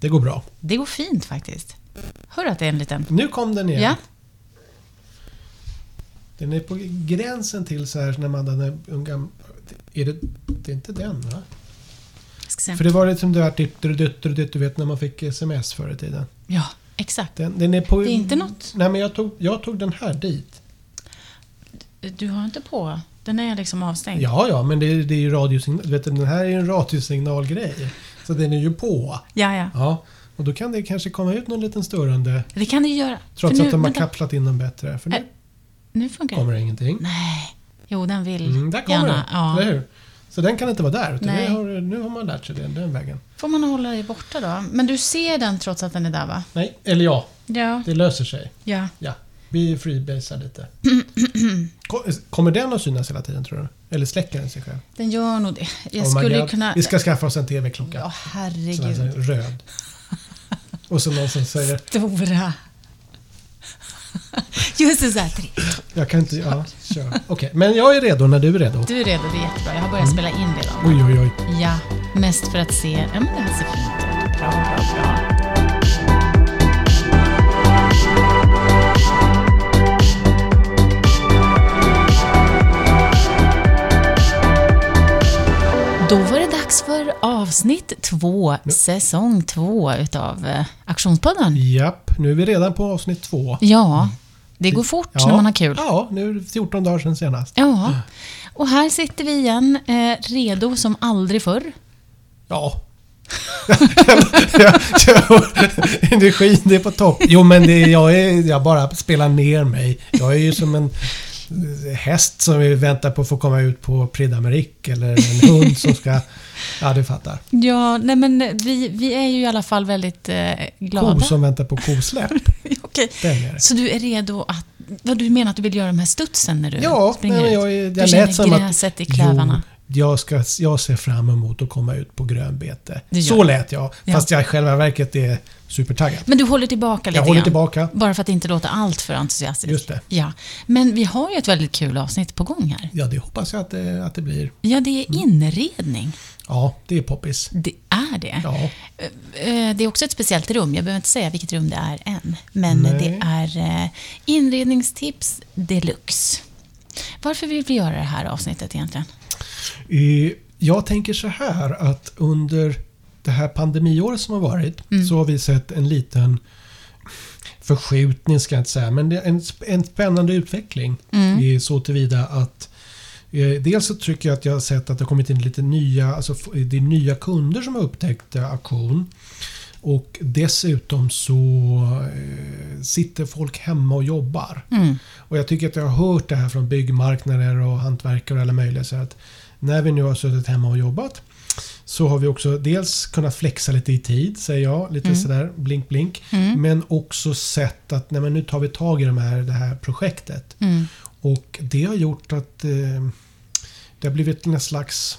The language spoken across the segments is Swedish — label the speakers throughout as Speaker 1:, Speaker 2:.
Speaker 1: Det går bra.
Speaker 2: Det går fint faktiskt. Hör du att det är en liten...
Speaker 1: Nu kom den igen.
Speaker 2: Ja.
Speaker 1: Den är på gränsen till så här när man hade en gammal... Är det, det är inte den va?
Speaker 2: Jag ska se.
Speaker 1: För det var lite som det här ditt dutt ditt du vet när man fick sms förr i tiden.
Speaker 2: Ja, exakt.
Speaker 1: Den, den är på...
Speaker 2: Det är inte något-
Speaker 1: Nej men jag tog, jag tog den här dit.
Speaker 2: Du har inte på... Den är liksom avstängd.
Speaker 1: Ja ja men det, är- det är ju radiosignal. Du vet den här är ju en radiosignalgrej. Så den är ju på.
Speaker 2: ja. ja.
Speaker 1: Ja. Och då kan det kanske komma ut någon liten störande.
Speaker 2: Det kan det ju göra. För
Speaker 1: Trots
Speaker 2: nu,
Speaker 1: att de har
Speaker 2: vänta.
Speaker 1: kapplat in den bättre. För nu
Speaker 2: Äh, Nu funkar
Speaker 1: kommer
Speaker 2: det.
Speaker 1: det ingenting.
Speaker 2: Nej. Jo, den vill
Speaker 1: Mm, där kommer
Speaker 2: gärna.
Speaker 1: den,
Speaker 2: Ja.
Speaker 1: eller hur? Så den kan inte vara där. Utan det
Speaker 2: Nej.
Speaker 1: har, nu har man lärt sig den, den vägen.
Speaker 2: Får man hålla dig borta då? Men du ser den trots att den är där va?
Speaker 1: Nej, eller ja,
Speaker 2: Ja.
Speaker 1: det löser sig.
Speaker 2: ja.
Speaker 1: Ja, vi freebasar lite. Ko- Kommer den att synas hela tiden tror du? Eller släcker den sig själv?
Speaker 2: Den gör nog det. Jag
Speaker 1: Oh my
Speaker 2: skulle ju
Speaker 1: God.
Speaker 2: kunna...
Speaker 1: Vi ska skaffa oss en TV-klocka.
Speaker 2: Ja,
Speaker 1: Sån här som är
Speaker 2: herregud.
Speaker 1: röd. Och så någon som säger
Speaker 2: Stora. Just det, så här. tre.
Speaker 1: jag kan inte... Ja, kör. Okej, men jag är redo när du är redo.
Speaker 2: Du är redo, det är jättebra. Jag har börjat spela in det då.
Speaker 1: Oj, oj, oj.
Speaker 2: Ja, mest för att se... Ja, men det här ser fint ut. Bra, bra, bra. Då var det dags för avsnitt två, säsong två utav eh, Aktionspodden.
Speaker 1: Japp, nu är vi redan på avsnitt två.
Speaker 2: Ja, det går fort
Speaker 1: Ja.
Speaker 2: när man har kul.
Speaker 1: Ja, nu är det 14 dagar sedan senast.
Speaker 2: Ja, och här sitter vi igen, eh, redo som aldrig förr.
Speaker 1: Ja. jag, jag, energin det är på topp. Jo men det, jag, är, jag bara spelar ner mig. Jag är ju som en häst som vi väntar på att få komma ut på Prix d'Amérique eller en hund som ska... Ja, du fattar.
Speaker 2: Ja, nej men vi, vi är ju i alla fall väldigt eh,
Speaker 1: Ko
Speaker 2: glada.
Speaker 1: som väntar på kosläpp.
Speaker 2: Okej.
Speaker 1: Den är det.
Speaker 2: Så du är redo att... Vad du menar att du vill göra den här studsen när du
Speaker 1: Ja, nej,
Speaker 2: springer
Speaker 1: men jag,
Speaker 2: ut?
Speaker 1: är-
Speaker 2: du
Speaker 1: jag
Speaker 2: känner
Speaker 1: lät som att...
Speaker 2: gräset i klövarna.
Speaker 1: Jo, jag, ska, jag ser fram emot att komma ut på grönbete.
Speaker 2: Det gör
Speaker 1: Så lät jag.
Speaker 2: Ja.
Speaker 1: Fast jag i själva verket är supertaggad.
Speaker 2: Men du håller tillbaka lite
Speaker 1: Jag håller
Speaker 2: grann.
Speaker 1: tillbaka.
Speaker 2: Bara för att inte låta allt för entusiastisk.
Speaker 1: Just det.
Speaker 2: Ja. Men vi har ju ett väldigt kul avsnitt på gång här.
Speaker 1: Ja, det hoppas jag att det, att det blir.
Speaker 2: Ja, det är
Speaker 1: Mm.
Speaker 2: inredning.
Speaker 1: Ja, det är poppis.
Speaker 2: Det är det.
Speaker 1: Ja.
Speaker 2: Eh, Det är också ett speciellt rum. Jag behöver inte säga vilket rum det är än. Men
Speaker 1: Nej.
Speaker 2: det är eh, inredningstips deluxe. Varför vill vi göra det här avsnittet egentligen?
Speaker 1: Eh, Jag tänker så här att under det här pandemiåret som har varit så har vi sett en liten förskjutning ska jag inte säga, men det är en, sp- en spännande utveckling eh, så tillvida att eh, Dels så tycker jag att jag har sett att det har kommit in lite nya, alltså f- det är nya kunder som har upptäckt eh, auktion. Och dessutom så eh, sitter folk hemma och jobbar.
Speaker 2: Mm.
Speaker 1: Och jag tycker att jag har hört det här från byggmarknader och hantverkare och alla möjliga. Så att när vi nu har suttit hemma och jobbat så har vi också dels kunnat flexa lite i tid, säger jag. Lite sådär blink blink. Men också sett att nej, men nu tar vi tag i de här, det här projektet.
Speaker 2: Mm.
Speaker 1: Och det har gjort att eh, det har blivit en slags,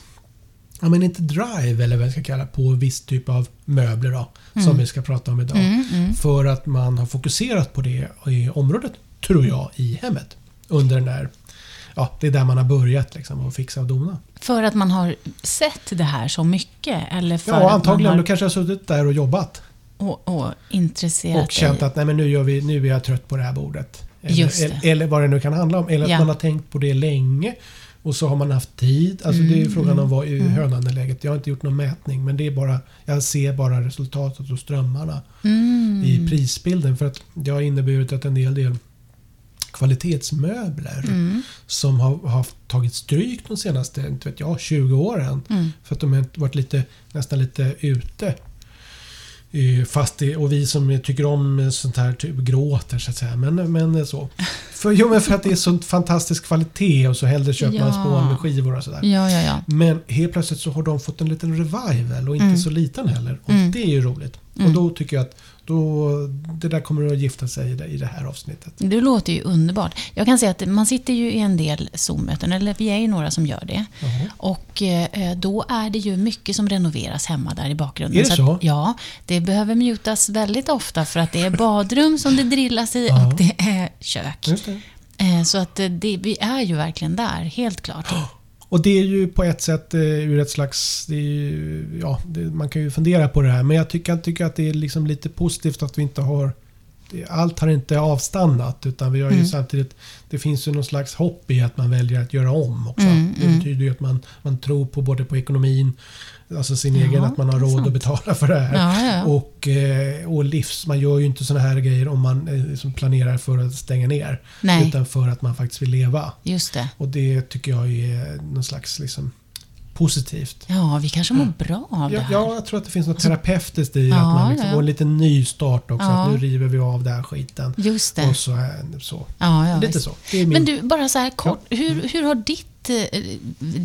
Speaker 1: ja men inte drive eller vad jag ska kalla på viss typ av möbler då. Som vi ska prata om idag.
Speaker 2: Mm, mm.
Speaker 1: För att man har fokuserat på det i området, tror jag, i hemmet. Under den där, ja, det är där man har börjat liksom att fixa och dona.
Speaker 2: För att man har sett det här så mycket? Eller för
Speaker 1: Ja,
Speaker 2: att
Speaker 1: antagligen.
Speaker 2: Man
Speaker 1: Då kanske jag har suttit där och jobbat
Speaker 2: har, och, och intresserat
Speaker 1: och känt
Speaker 2: dig.
Speaker 1: att nej, men nu, gör vi, nu är jag trött på det här bordet. Eller,
Speaker 2: Just det.
Speaker 1: eller, eller vad det nu kan handla om. Eller
Speaker 2: Ja.
Speaker 1: att man har tänkt på det länge och så har man haft tid. Alltså, det är
Speaker 2: Mm,
Speaker 1: ju frågan om vad är hönan i läget. Jag har inte gjort någon mätning men det är bara, jag ser bara resultatet och strömmarna.
Speaker 2: Mm.
Speaker 1: i prisbilden. För att det har inneburit att en del, del kvalitetsmöbler
Speaker 2: Mm.
Speaker 1: som har, har tagit stryk de senaste inte vet jag, 20 åren.
Speaker 2: Mm.
Speaker 1: För att de har varit lite, nästan lite ute. Eh, Fast det, och vi som tycker om sånt här typ gråter så att säga. Men, men så. För, jo, men för att det är så fantastisk kvalitet och så hellre köper man
Speaker 2: Ja.
Speaker 1: spån med skivor och sådär.
Speaker 2: Ja, ja, ja.
Speaker 1: Men helt plötsligt så har de fått en liten revival och inte så liten heller. Och det är ju roligt. Och då tycker jag att då, det där kommer att gifta sig i det, i det här avsnittet.
Speaker 2: Det låter ju underbart. Jag kan säga att man sitter ju i en del Zoom-möten, eller vi är ju några som gör det.
Speaker 1: Jaha.
Speaker 2: Och eh, då är det ju mycket som renoveras hemma där i bakgrunden.
Speaker 1: Är det så?
Speaker 2: Att, ja, det behöver mutas väldigt ofta för att det är badrum som det drillas i
Speaker 1: Ja.
Speaker 2: och det är kök.
Speaker 1: Just det.
Speaker 2: Eh, Så att eh, det, vi är ju verkligen där, helt klart.
Speaker 1: Och det är ju på ett sätt eh, ur ett slags... Det är ju, ja, det, man kan ju fundera på det här men jag tycker, jag tycker att det är liksom lite positivt att vi inte har... det- Allt har inte avstannat utan vi har ju
Speaker 2: Mm.
Speaker 1: samtidigt... Det finns ju någon slags hopp i att man väljer att göra om också.
Speaker 2: Mm,
Speaker 1: det
Speaker 2: mm.
Speaker 1: betyder ju att man, man tror på både på ekonomin, alltså sin egen,
Speaker 2: Ja,
Speaker 1: att man har
Speaker 2: det är
Speaker 1: råd
Speaker 2: sant.
Speaker 1: att betala för det här.
Speaker 2: Ja, ja. ja.
Speaker 1: Och, eh, och livs... Man gör ju inte såna här grejer om man eh, liksom planerar för att stänga ner.
Speaker 2: Nej,
Speaker 1: Utan för att man faktiskt vill leva.
Speaker 2: just det.
Speaker 1: Och det tycker jag är någon slags liksom, positivt.
Speaker 2: Ja, vi kanske mår bra av det
Speaker 1: Jag,
Speaker 2: här.
Speaker 1: jag tror att det finns något terapeutiskt i att
Speaker 2: Ja,
Speaker 1: man liksom
Speaker 2: ja.
Speaker 1: får en liten ny start också.
Speaker 2: Ja.
Speaker 1: Att nu river vi av den här skiten.
Speaker 2: Just det.
Speaker 1: Och så, är- så.
Speaker 2: Ja, ja,
Speaker 1: Lite
Speaker 2: visst.
Speaker 1: så. Det är min,
Speaker 2: Men du, bara så här kort. Hur, hur har ditt eh,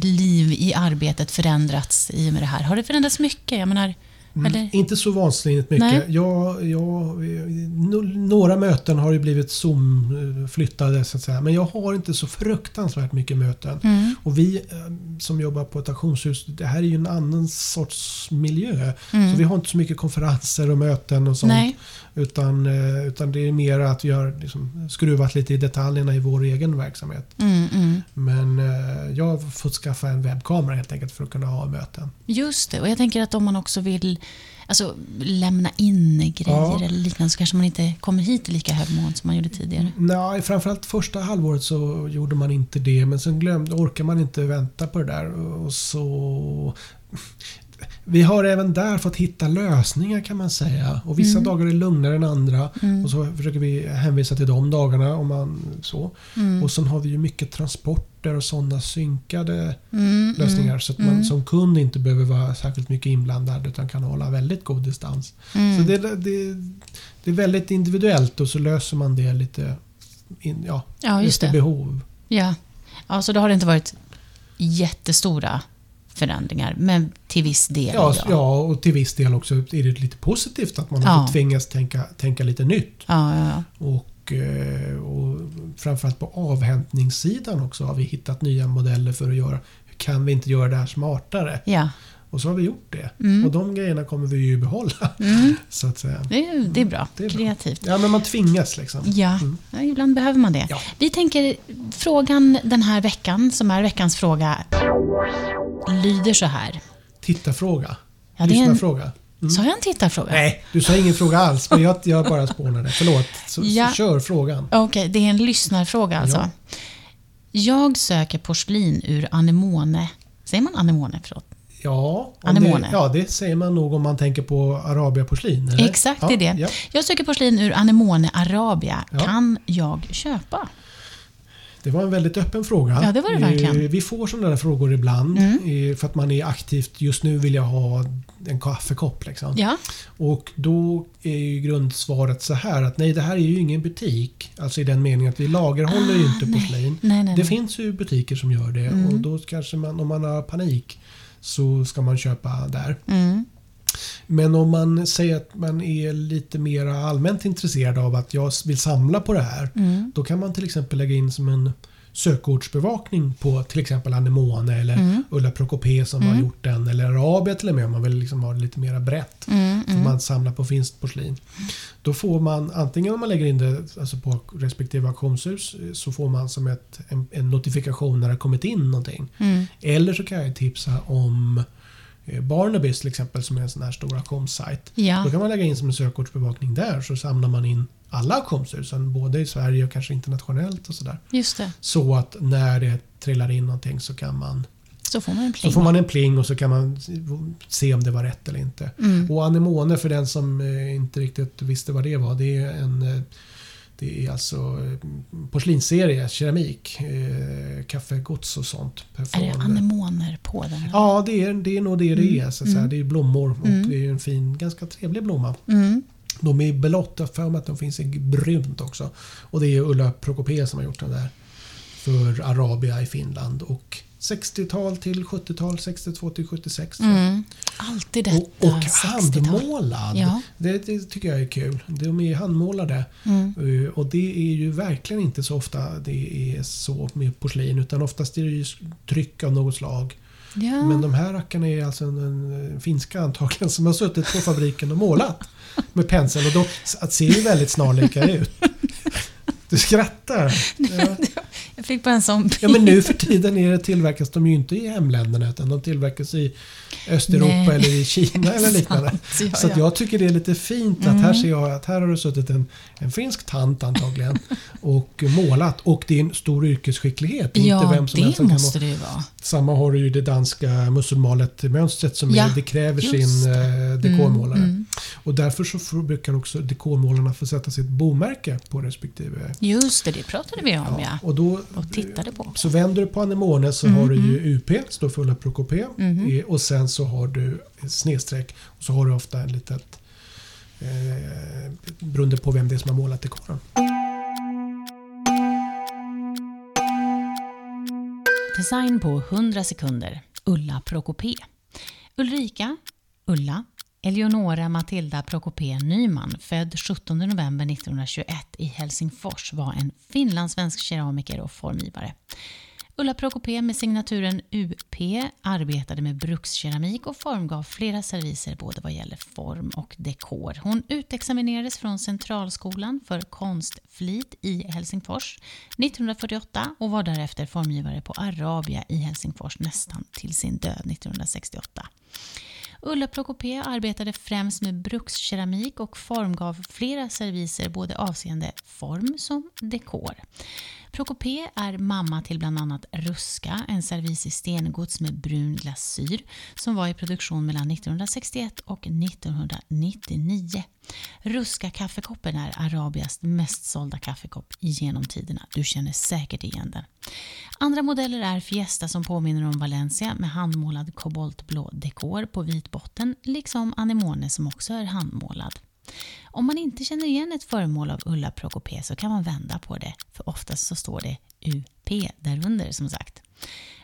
Speaker 2: liv i arbetet förändrats i och med det här? Har det förändrats mycket? Jag menar, eller?
Speaker 1: mm, Inte så vansinnigt mycket.
Speaker 2: Nej.
Speaker 1: Jag, jag, no- några möten har ju blivit Zoom-flyttade så att säga. Men jag har inte så fruktansvärt mycket möten.
Speaker 2: Mm.
Speaker 1: Och vi eh, som jobbar på ett auktionshus, det här är ju en annan sorts miljö.
Speaker 2: Mm.
Speaker 1: Så vi har inte så mycket konferenser och möten och sånt.
Speaker 2: Nej.
Speaker 1: Utan, eh, utan det är mer att vi har liksom skruvat lite i detaljerna i vår egen verksamhet.
Speaker 2: Mm, mm.
Speaker 1: Men eh, jag har fått skaffa en webbkamera helt enkelt för att kunna ha möten.
Speaker 2: Just det, och jag tänker att om man också vill alltså, lämna in grejer
Speaker 1: Ja.
Speaker 2: eller liknande så kanske man inte kommer hit i lika hög mån som man gjorde tidigare.
Speaker 1: Nej, framförallt första halvåret så gjorde man inte det men sen glömde, orkar man inte vänta på det där. Och så... Vi har även där fått hitta lösningar kan man säga. Och vissa
Speaker 2: Mm.
Speaker 1: dagar är lugnare än andra.
Speaker 2: Mm.
Speaker 1: Och så försöker vi hänvisa till de dagarna om man så.
Speaker 2: Mm.
Speaker 1: Och sen har vi ju mycket transporter och sådana synkade
Speaker 2: Mm,
Speaker 1: lösningar
Speaker 2: mm,
Speaker 1: så att man
Speaker 2: mm,
Speaker 1: som kund inte behöver vara särskilt mycket inblandad utan kan hålla väldigt god distans.
Speaker 2: mm.
Speaker 1: Så det, det, det är väldigt individuellt och så löser man det lite in, ja,
Speaker 2: ja, just
Speaker 1: efter
Speaker 2: det.
Speaker 1: behov.
Speaker 2: Ja. ja, så då har det inte varit jättestora förändringar, men till viss del.
Speaker 1: Ja, s- ja, och till viss del också är det lite positivt att man
Speaker 2: Ja.
Speaker 1: har tvingas tänka, tänka lite nytt.
Speaker 2: ja, ja, ja.
Speaker 1: Och, eh, och framförallt på avhämtningssidan också har vi hittat nya modeller för att göra. Hur kan vi inte göra det här smartare?
Speaker 2: ja.
Speaker 1: Och så har vi gjort det.
Speaker 2: Mm.
Speaker 1: Och de grejerna kommer vi ju behålla.
Speaker 2: Mm.
Speaker 1: Så att säga.
Speaker 2: Det, är, det är bra,
Speaker 1: Det är bra.
Speaker 2: kreativt.
Speaker 1: Ja, men man tvingas liksom.
Speaker 2: Ja, ja, ibland behöver man det.
Speaker 1: Ja.
Speaker 2: Vi tänker, frågan den här veckan, som är veckans fråga, lyder så här.
Speaker 1: Tittarfråga.
Speaker 2: Ja, det är en-
Speaker 1: Lyssnarfråga.
Speaker 2: Sa jag en tittarfråga?
Speaker 1: mm. Nej, du sa ingen fråga alls, men jag, jag bara spånade. Förlåt. Så,
Speaker 2: Ja.
Speaker 1: så kör frågan.
Speaker 2: Okej, det är en lyssnarfråga alltså. Jag söker porslin ur anemone. Säger man anemone? Förlåt.
Speaker 1: Ja, om
Speaker 2: Anemoner.
Speaker 1: det, ja, det säger man nog om man tänker på arabiaporslin. eller?
Speaker 2: Exakt,
Speaker 1: ja,
Speaker 2: det är det.
Speaker 1: Ja.
Speaker 2: Jag söker porslin ur anemone arabia.
Speaker 1: Ja.
Speaker 2: Kan jag köpa?
Speaker 1: Det var en väldigt öppen fråga.
Speaker 2: Ja, det var det
Speaker 1: Eh,
Speaker 2: verkligen. Mm.
Speaker 1: Vi får sådana där frågor ibland eh, för att man är aktivt. Just nu vill jag ha en kaffekopp. Liksom.
Speaker 2: Ja.
Speaker 1: Och då är ju grundsvaret så här att nej, det här är ju ingen butik. Alltså i den meningen att vi lagerhåller ju inte porslin.
Speaker 2: Ah, Nej,
Speaker 1: Det
Speaker 2: nej, nej.
Speaker 1: finns ju butiker som gör det och då kanske man, om man har panik, så ska man köpa där.
Speaker 2: Mm.
Speaker 1: Men om man säger att man är lite mer allmänt intresserad av att jag vill samla på det här.
Speaker 2: Mm.
Speaker 1: Då kan man till exempel lägga in som en sökordsbevakning på till exempel Anemone eller
Speaker 2: Mm.
Speaker 1: Ulla Prokopé som har gjort den. Eller Arabia till och med om man vill liksom ha det lite mer brett.
Speaker 2: Mm.
Speaker 1: För man samlar på finskt porslin. Då får man antingen om man lägger in det alltså på respektive auktionshus eh, så får man som ett, en, en notifikation när det har kommit in någonting.
Speaker 2: Mm.
Speaker 1: Eller så kan jag tipsa om eh, Barnabys till exempel som är en sån här stor auktionssajt.
Speaker 2: Ja.
Speaker 1: Då kan man lägga in som en sökordsbevakning där så samlar man in alla auktionshusen både i Sverige och kanske internationellt och sådär.
Speaker 2: Just det.
Speaker 1: Så att när det trillar in någonting så kan man
Speaker 2: Så får man en
Speaker 1: så
Speaker 2: pling.
Speaker 1: får man en pling och så kan man se om det var rätt eller inte.
Speaker 2: Mm.
Speaker 1: Och anemone för den som eh, inte riktigt visste vad det var. Det är en eh, det är alltså eh, porslinsserie, keramik, eh, kaffegods och sånt.
Speaker 2: Är det
Speaker 1: från-
Speaker 2: anemoner på den?
Speaker 1: Ja, det är, det är nog det
Speaker 2: Mm,
Speaker 1: det är. Så att säga. Det är blommor och det är ju en fin, ganska trevlig blomma.
Speaker 2: Mm.
Speaker 1: De är blått, jag har för mig att de finns i brunt också. Och det är Ulla Prokopé som har gjort den där. För Arabia i Finland. Och 60-tal till 70-tal, 62 till 76. tror jag.
Speaker 2: Mm. Alltid detta
Speaker 1: Och, och
Speaker 2: 60-tal.
Speaker 1: handmålad.
Speaker 2: Ja.
Speaker 1: Det, det tycker jag är kul. De är handmålade.
Speaker 2: Mm.
Speaker 1: Eh, Och det är ju verkligen inte så ofta det är så med porslin. Utan oftast är det ju tryck av något slag.
Speaker 2: Ja.
Speaker 1: Men de här rackarna är alltså en, en eh, finska antagligen som har suttit på fabriken och målat med pensel. Och de s- att ser ju väldigt snarlika ut. Du skrattar. Ja.
Speaker 2: Jag fick bara en sån bild.
Speaker 1: Ja, men nu för tiden är det, tillverkas de ju inte i hemländerna utan de tillverkas i Östeuropa
Speaker 2: Nej.
Speaker 1: eller i Kina eller liknande.
Speaker 2: Sant,
Speaker 1: Så
Speaker 2: ja,
Speaker 1: att
Speaker 2: ja. Mm.
Speaker 1: jag tycker det är lite fint att här ser jag att här har det suttit en, en finsk tant antagligen och målat. Och det är en stor yrkesskicklighet.
Speaker 2: ja,
Speaker 1: inte vem som helst som
Speaker 2: det
Speaker 1: kan må-
Speaker 2: måste det ju vara.
Speaker 1: Samma har du ju det danska musulmalet-mönstret som
Speaker 2: Ja,
Speaker 1: är, det kräver
Speaker 2: just
Speaker 1: sin eh, dekormålare.
Speaker 2: Mm, mm.
Speaker 1: Och därför så får, brukar också dekormålarna få sätta sitt bomärke på respektive.
Speaker 2: Just det, det pratade vi om ja.
Speaker 1: Och då,
Speaker 2: Och tittade på.
Speaker 1: så vänder du på anemonen så har du ju UP, står för Ulla Prokopé. eh, Och sen så har du snedstreck och så har du ofta en litet eh, beroende på vem det är som har målat dekoren.
Speaker 2: Design på 100 sekunder. Ulla Prokopé. Ulrika, Ulla, Eleonora Matilda Prokopé Nyman, född 17 november 1921 i Helsingfors, var en finlandssvensk keramiker och formgivare. Ulla Prokopé med signaturen UP arbetade med brukskeramik och formgav flera serviser både vad gäller form och dekor. Hon utexaminerades från Centralskolan för konstflit i Helsingfors 1948 och var därefter formgivare på Arabia i Helsingfors nästan till sin död 1968. Ulla Prokopé arbetade främst med brukskeramik och formgav flera serviser både avseende form som dekor. Prokopé är mamma till bland annat Ruska, en servis i stengods med brun glasyr som var i produktion mellan 1961 och 1999. Ruska-kaffekoppen är Arabias mest sålda kaffekopp genom tiderna. Du känner säkert igen den. Andra modeller är Fiesta som påminner om Valencia med handmålad koboltblå dekor på vit botten, liksom Anemone som också är handmålad. Om man inte känner igen ett föremål av Ulla Prokopé så kan man vända på det, för oftast så står det UP därunder som sagt.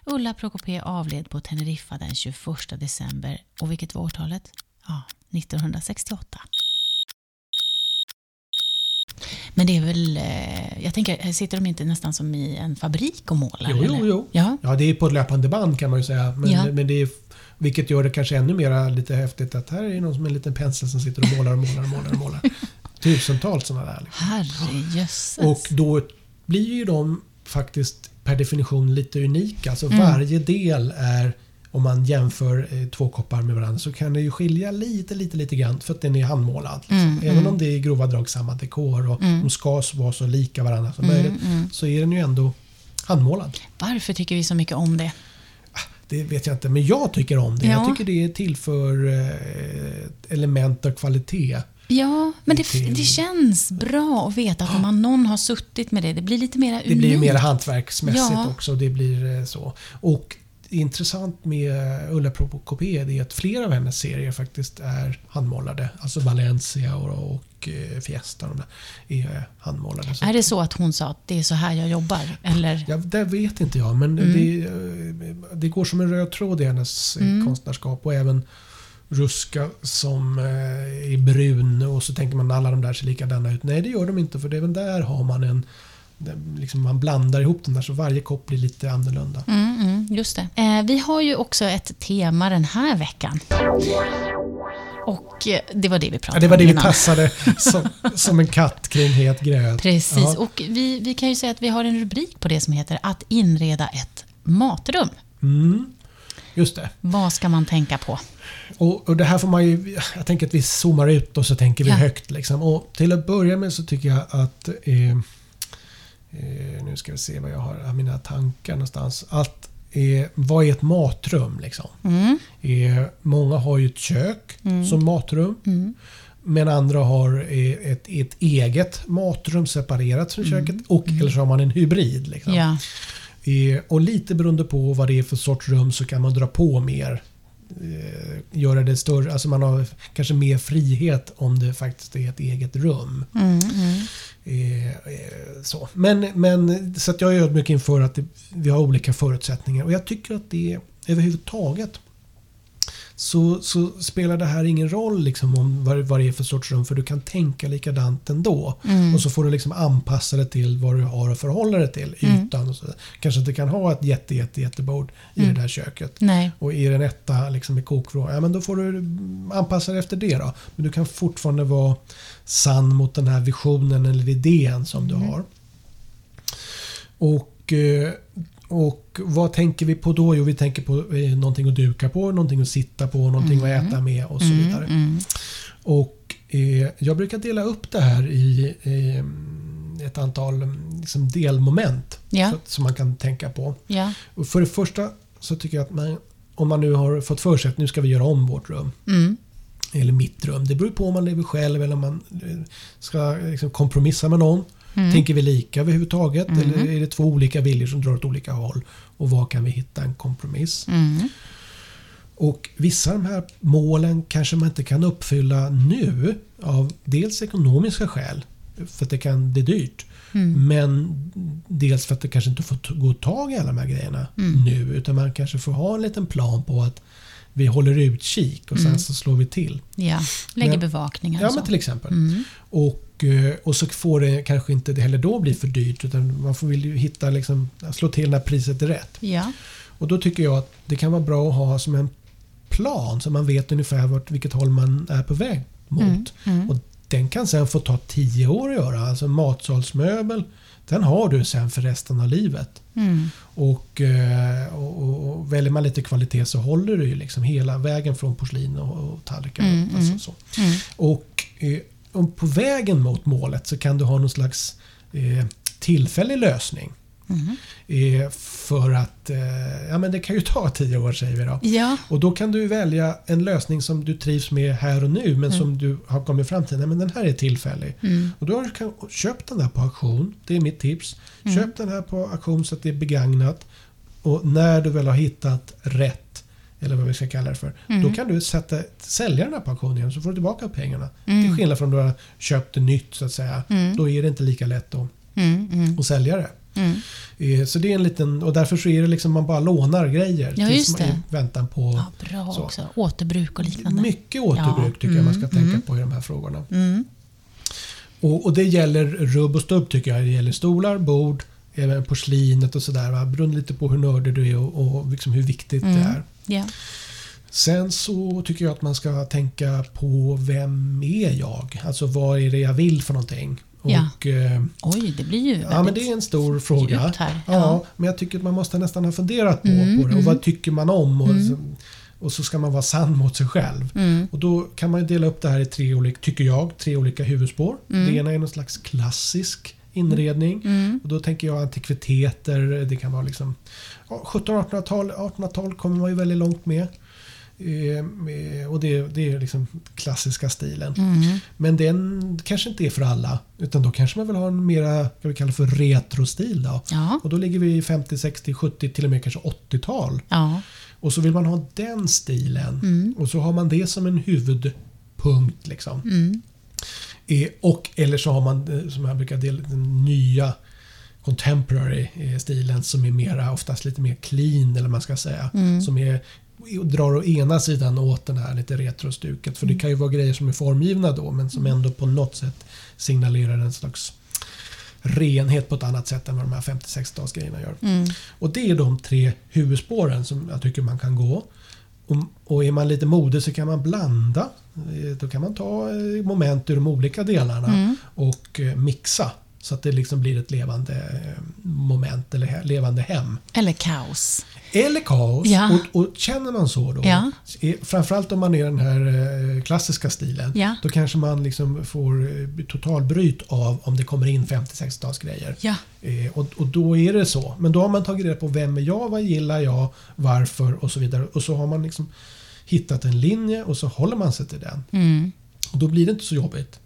Speaker 2: Ulla Prokopé avled på Teneriffa den 21 december och vilket var årtalet? Ja, 1968. Men det är väl, eh, jag tänker, sitter de inte nästan som i en fabrik och målar?
Speaker 1: Jo, jo,
Speaker 2: eller?
Speaker 1: jo.
Speaker 2: Ja.
Speaker 1: Ja, det är på ett löpande band kan man ju säga. Men,
Speaker 2: Ja.
Speaker 1: men det är, vilket gör det kanske ännu mer lite häftigt att här är någon som är en liten pensel som sitter och målar och målar och målar. Och målar. Tusentals sådana där. Liksom.
Speaker 2: Herrejösses.
Speaker 1: Och då blir ju de faktiskt per definition lite unika. Alltså varje del är, om man jämför eh, två koppar med varandra, så kan det ju skilja lite, lite, lite grann för att den är handmålad.
Speaker 2: Mm,
Speaker 1: Liksom. Även om det är i grova drag samma dekor och de ska vara så lika varandra som
Speaker 2: Mm,
Speaker 1: möjligt, så är den ju ändå handmålad.
Speaker 2: Varför tycker vi så mycket om det?
Speaker 1: Det vet jag inte, men jag tycker om det.
Speaker 2: Ja.
Speaker 1: Jag tycker det tillför eh, element och kvalitet.
Speaker 2: Ja, men det,
Speaker 1: Till-
Speaker 2: det känns bra att veta att om man, någon har suttit med det, det blir lite mer unikt.
Speaker 1: Det blir ju mer hantverksmässigt
Speaker 2: Ja.
Speaker 1: också. Det blir eh, så. Och intressant med Ulla Prokopé det är att flera av hennes serier faktiskt är handmålade. Alltså Valencia och, och eh, Fiesta de där, är eh, handmålade. Så,
Speaker 2: Är det så att hon sa att det är så här jag jobbar? Eller?
Speaker 1: ja, det vet inte jag men det, eh, det går som en röd tråd i hennes eh, konstnärskap och även Ruska som eh, är brun och så tänker man alla de där ser likadana ut. Nej det gör de inte för även där har man en den- Liksom man blandar ihop den där så varje kopp blir lite annorlunda.
Speaker 2: Mm, mm, just det. Eh, vi har ju också ett tema den här veckan. Och eh, det var det vi pratade
Speaker 1: Ja, det var
Speaker 2: om
Speaker 1: det vi
Speaker 2: innan.
Speaker 1: tassade som, som en katt kring het gröt.
Speaker 2: Precis,
Speaker 1: Ja.
Speaker 2: och vi, vi kan ju säga att vi har en rubrik på det som heter Att inreda ett matrum.
Speaker 1: Mm, just det.
Speaker 2: Vad ska man tänka på?
Speaker 1: Och, och det här får man ju... Jag tänker att vi zoomar ut och så tänker vi
Speaker 2: Ja.
Speaker 1: högt. Liksom. Och till att börja med så tycker jag att... Eh, eh, nu ska vi se vad jag har av mina tankar någonstans. Att, eh, vad är ett matrum? Liksom?
Speaker 2: Mm,
Speaker 1: Eh, många har ju ett kök som matrum.
Speaker 2: Mm.
Speaker 1: Men andra har eh, ett, ett eget matrum separerat från köket. Och, Eller så har man en hybrid. Liksom.
Speaker 2: Mm. Ja.
Speaker 1: Eh, Och lite beroende på vad det är för sorts rum så kan man dra på mer. Eh, Göra det större, alltså man har kanske mer frihet om det faktiskt är ett eget rum.
Speaker 2: Mm, mm.
Speaker 1: Eh, eh, Så. Men, men, så att jag är ödmjuk inför att det, vi har olika förutsättningar och jag tycker att det överhuvudtaget så, så spelar det här ingen roll liksom om vad, vad det är för sorts rum för du kan tänka likadant ändå. Och så får du liksom anpassa det till vad du har att förhålla dig till. Ytan och så. Kanske inte kan ha ett jätte, jätte, jättebord i det där köket.
Speaker 2: Nej.
Speaker 1: Och är den etta liksom med kokvrå, ja men då får du mm, anpassa dig efter det då. Men du kan fortfarande vara
Speaker 2: Mm.
Speaker 1: sann mot den här visionen eller idén som du har. Och Och, eh, och vad tänker vi på då? Jo, vi tänker på eh, någonting att duka på, någonting att sitta på, någonting att äta med och så
Speaker 2: Mm,
Speaker 1: vidare.
Speaker 2: mm.
Speaker 1: Och eh, jag brukar dela upp det här i eh, ett antal mm, liksom, delmoment
Speaker 2: Ja.
Speaker 1: så, som man kan tänka på.
Speaker 2: Ja.
Speaker 1: Och för det första så tycker jag att man, om man nu har fått för sig att nu ska vi göra om vårt rum.
Speaker 2: Mm.
Speaker 1: Eller mitt rum. Det beror på om man lever själv eller om man eh, ska liksom, kompromissa med någon.
Speaker 2: mm.
Speaker 1: Tänker vi lika överhuvudtaget? Eller är det två olika viljor som drar åt olika håll? Och var kan vi hitta en kompromiss?
Speaker 2: Mm.
Speaker 1: Och vissa av de här målen kanske man inte kan uppfylla nu av dels ekonomiska skäl, för att det kan bli dyrt. Men dels för att det kanske inte får t- gå att tag i alla de här grejerna
Speaker 2: Mm.
Speaker 1: nu. Utan man kanske får ha en liten plan på att vi håller utkik och sen så slår vi till.
Speaker 2: Mm. ja. Lägger
Speaker 1: Men-
Speaker 2: bevakningar
Speaker 1: Ja,
Speaker 2: och så. Mm.
Speaker 1: men till exempel. Och, eh, och så får det kanske inte heller då bli för dyrt utan man får, vill ju hitta, liksom, slå till när priset är rätt.
Speaker 2: Ja.
Speaker 1: Och då tycker jag att det kan vara bra att ha som en plan så man vet ungefär vart, vilket håll man är på väg mot.
Speaker 2: Mm,
Speaker 1: Och den kan sen få ta tio år att göra. Alltså en matsalsmöbel, den har du sen för resten av livet.
Speaker 2: Mm.
Speaker 1: Och, eh, och, och, och väljer man lite kvalitet så håller du ju liksom hela vägen från porslin och, och tallrikar.
Speaker 2: Mm,
Speaker 1: alltså
Speaker 2: mm.
Speaker 1: så.
Speaker 2: Mm.
Speaker 1: Och, eh, om på vägen mot målet så kan du ha någon slags eh, tillfällig lösning.
Speaker 2: Mm.
Speaker 1: Eh, för att eh, ja, men det kan ju ta tio år säger vi då.
Speaker 2: Ja.
Speaker 1: Och då kan du välja en lösning som du trivs med här och nu men som du har kommit fram till. Nej, men den här är tillfällig.
Speaker 2: Mm.
Speaker 1: Och då har du kan, köp den här på auktion. Det är mitt tips. Köp den här på auktion så att det är begagnat. Och när du väl har hittat rätt, eller vad vi ska kalla det för, då kan du sätta, sälja den här på auktion igen så får du tillbaka pengarna. Till skillnad från om du har köpt det nytt så att säga. Då är det inte lika lätt att,
Speaker 2: Mm. Mm.
Speaker 1: att sälja det.
Speaker 2: Mm.
Speaker 1: Eh, Så det är en liten, och därför så är det liksom man bara lånar grejer
Speaker 2: Ja,
Speaker 1: tills
Speaker 2: just
Speaker 1: man,
Speaker 2: det.
Speaker 1: i väntan på
Speaker 2: Ja, bra
Speaker 1: Så.
Speaker 2: också. Återbruk och liknande. Mm,
Speaker 1: mycket återbruk tycker jag man ska tänka på i de här frågorna. Och, och det gäller rubb och stubb tycker jag. Det gäller stolar, bord, även porslinet och sådär. va. Beroende lite på hur nördig du är och, och liksom hur viktigt
Speaker 2: Mm.
Speaker 1: det är.
Speaker 2: Ja.
Speaker 1: Sen så tycker jag att man ska tänka på vem är jag? Alltså vad är det jag vill för någonting?
Speaker 2: Ja.
Speaker 1: Och, eh,
Speaker 2: Oj, det blir ju väldigt...
Speaker 1: Ja, men det är en stor fråga.
Speaker 2: djupt här,
Speaker 1: Ja.
Speaker 2: ja.
Speaker 1: men jag tycker att man måste nästan ha funderat på,
Speaker 2: Mm,
Speaker 1: på det. Och vad tycker man om? Och, så, och så ska man vara sann mot sig själv.
Speaker 2: Mm.
Speaker 1: Och då kan man ju dela upp det här i tre olika, tycker jag, tre olika huvudspår.
Speaker 2: Mm.
Speaker 1: Det ena är någon slags klassisk inredning. Och då tänker jag antikviteter, det kan vara liksom ja, 1700-1800-tal, 1800-tal kommer man ju väldigt långt med. Ehm, eh, och det, det är liksom klassiska stilen.
Speaker 2: Mm.
Speaker 1: Men den kanske inte är för alla. Utan då kanske man vill ha en mera, vad vi kallar för retrostil då.
Speaker 2: Ja.
Speaker 1: Och då ligger vi i 50, 60, 70, till och med kanske 80-tal.
Speaker 2: Ja.
Speaker 1: Och så vill man ha den stilen. Och så har man det som en huvudpunkt. Liksom.
Speaker 2: Mm.
Speaker 1: Eh, Och, eller så har man, eh, som jag brukar dela, den nya contemporary eh, stilen som är mera, oftast lite mer clean eller vad man ska säga. Som är, drar å ena sidan åt den här lite retrostuket. För det kan ju vara grejer som är formgivna då men som ändå på något sätt signalerar en slags renhet på ett annat sätt än vad de här 50-60-talsgrejerna gör.
Speaker 2: Mm.
Speaker 1: Och det är de tre huvudspåren som jag tycker man kan gå. Och, och är man lite modig så kan man blanda. Eh, Då kan man ta eh, moment ur de olika delarna
Speaker 2: Mm.
Speaker 1: och eh, mixa. Så att det liksom blir ett levande eh, moment eller he- levande hem.
Speaker 2: Eller kaos.
Speaker 1: Eller kaos.
Speaker 2: Ja.
Speaker 1: Och, och känner man så då,
Speaker 2: Ja.
Speaker 1: eh, framförallt om man är den här eh, klassiska stilen,
Speaker 2: Ja.
Speaker 1: då kanske man liksom får eh, totalbryt av om det kommer in 50-60-talsgrejer.
Speaker 2: Ja.
Speaker 1: Eh, och, och då är det så. Men då har man tagit reda på vem är jag, vad gillar jag, varför och så vidare. Och så har man liksom hittat en linje och så håller man sig till den.
Speaker 2: Mm.
Speaker 1: Och då blir det inte så jobbigt.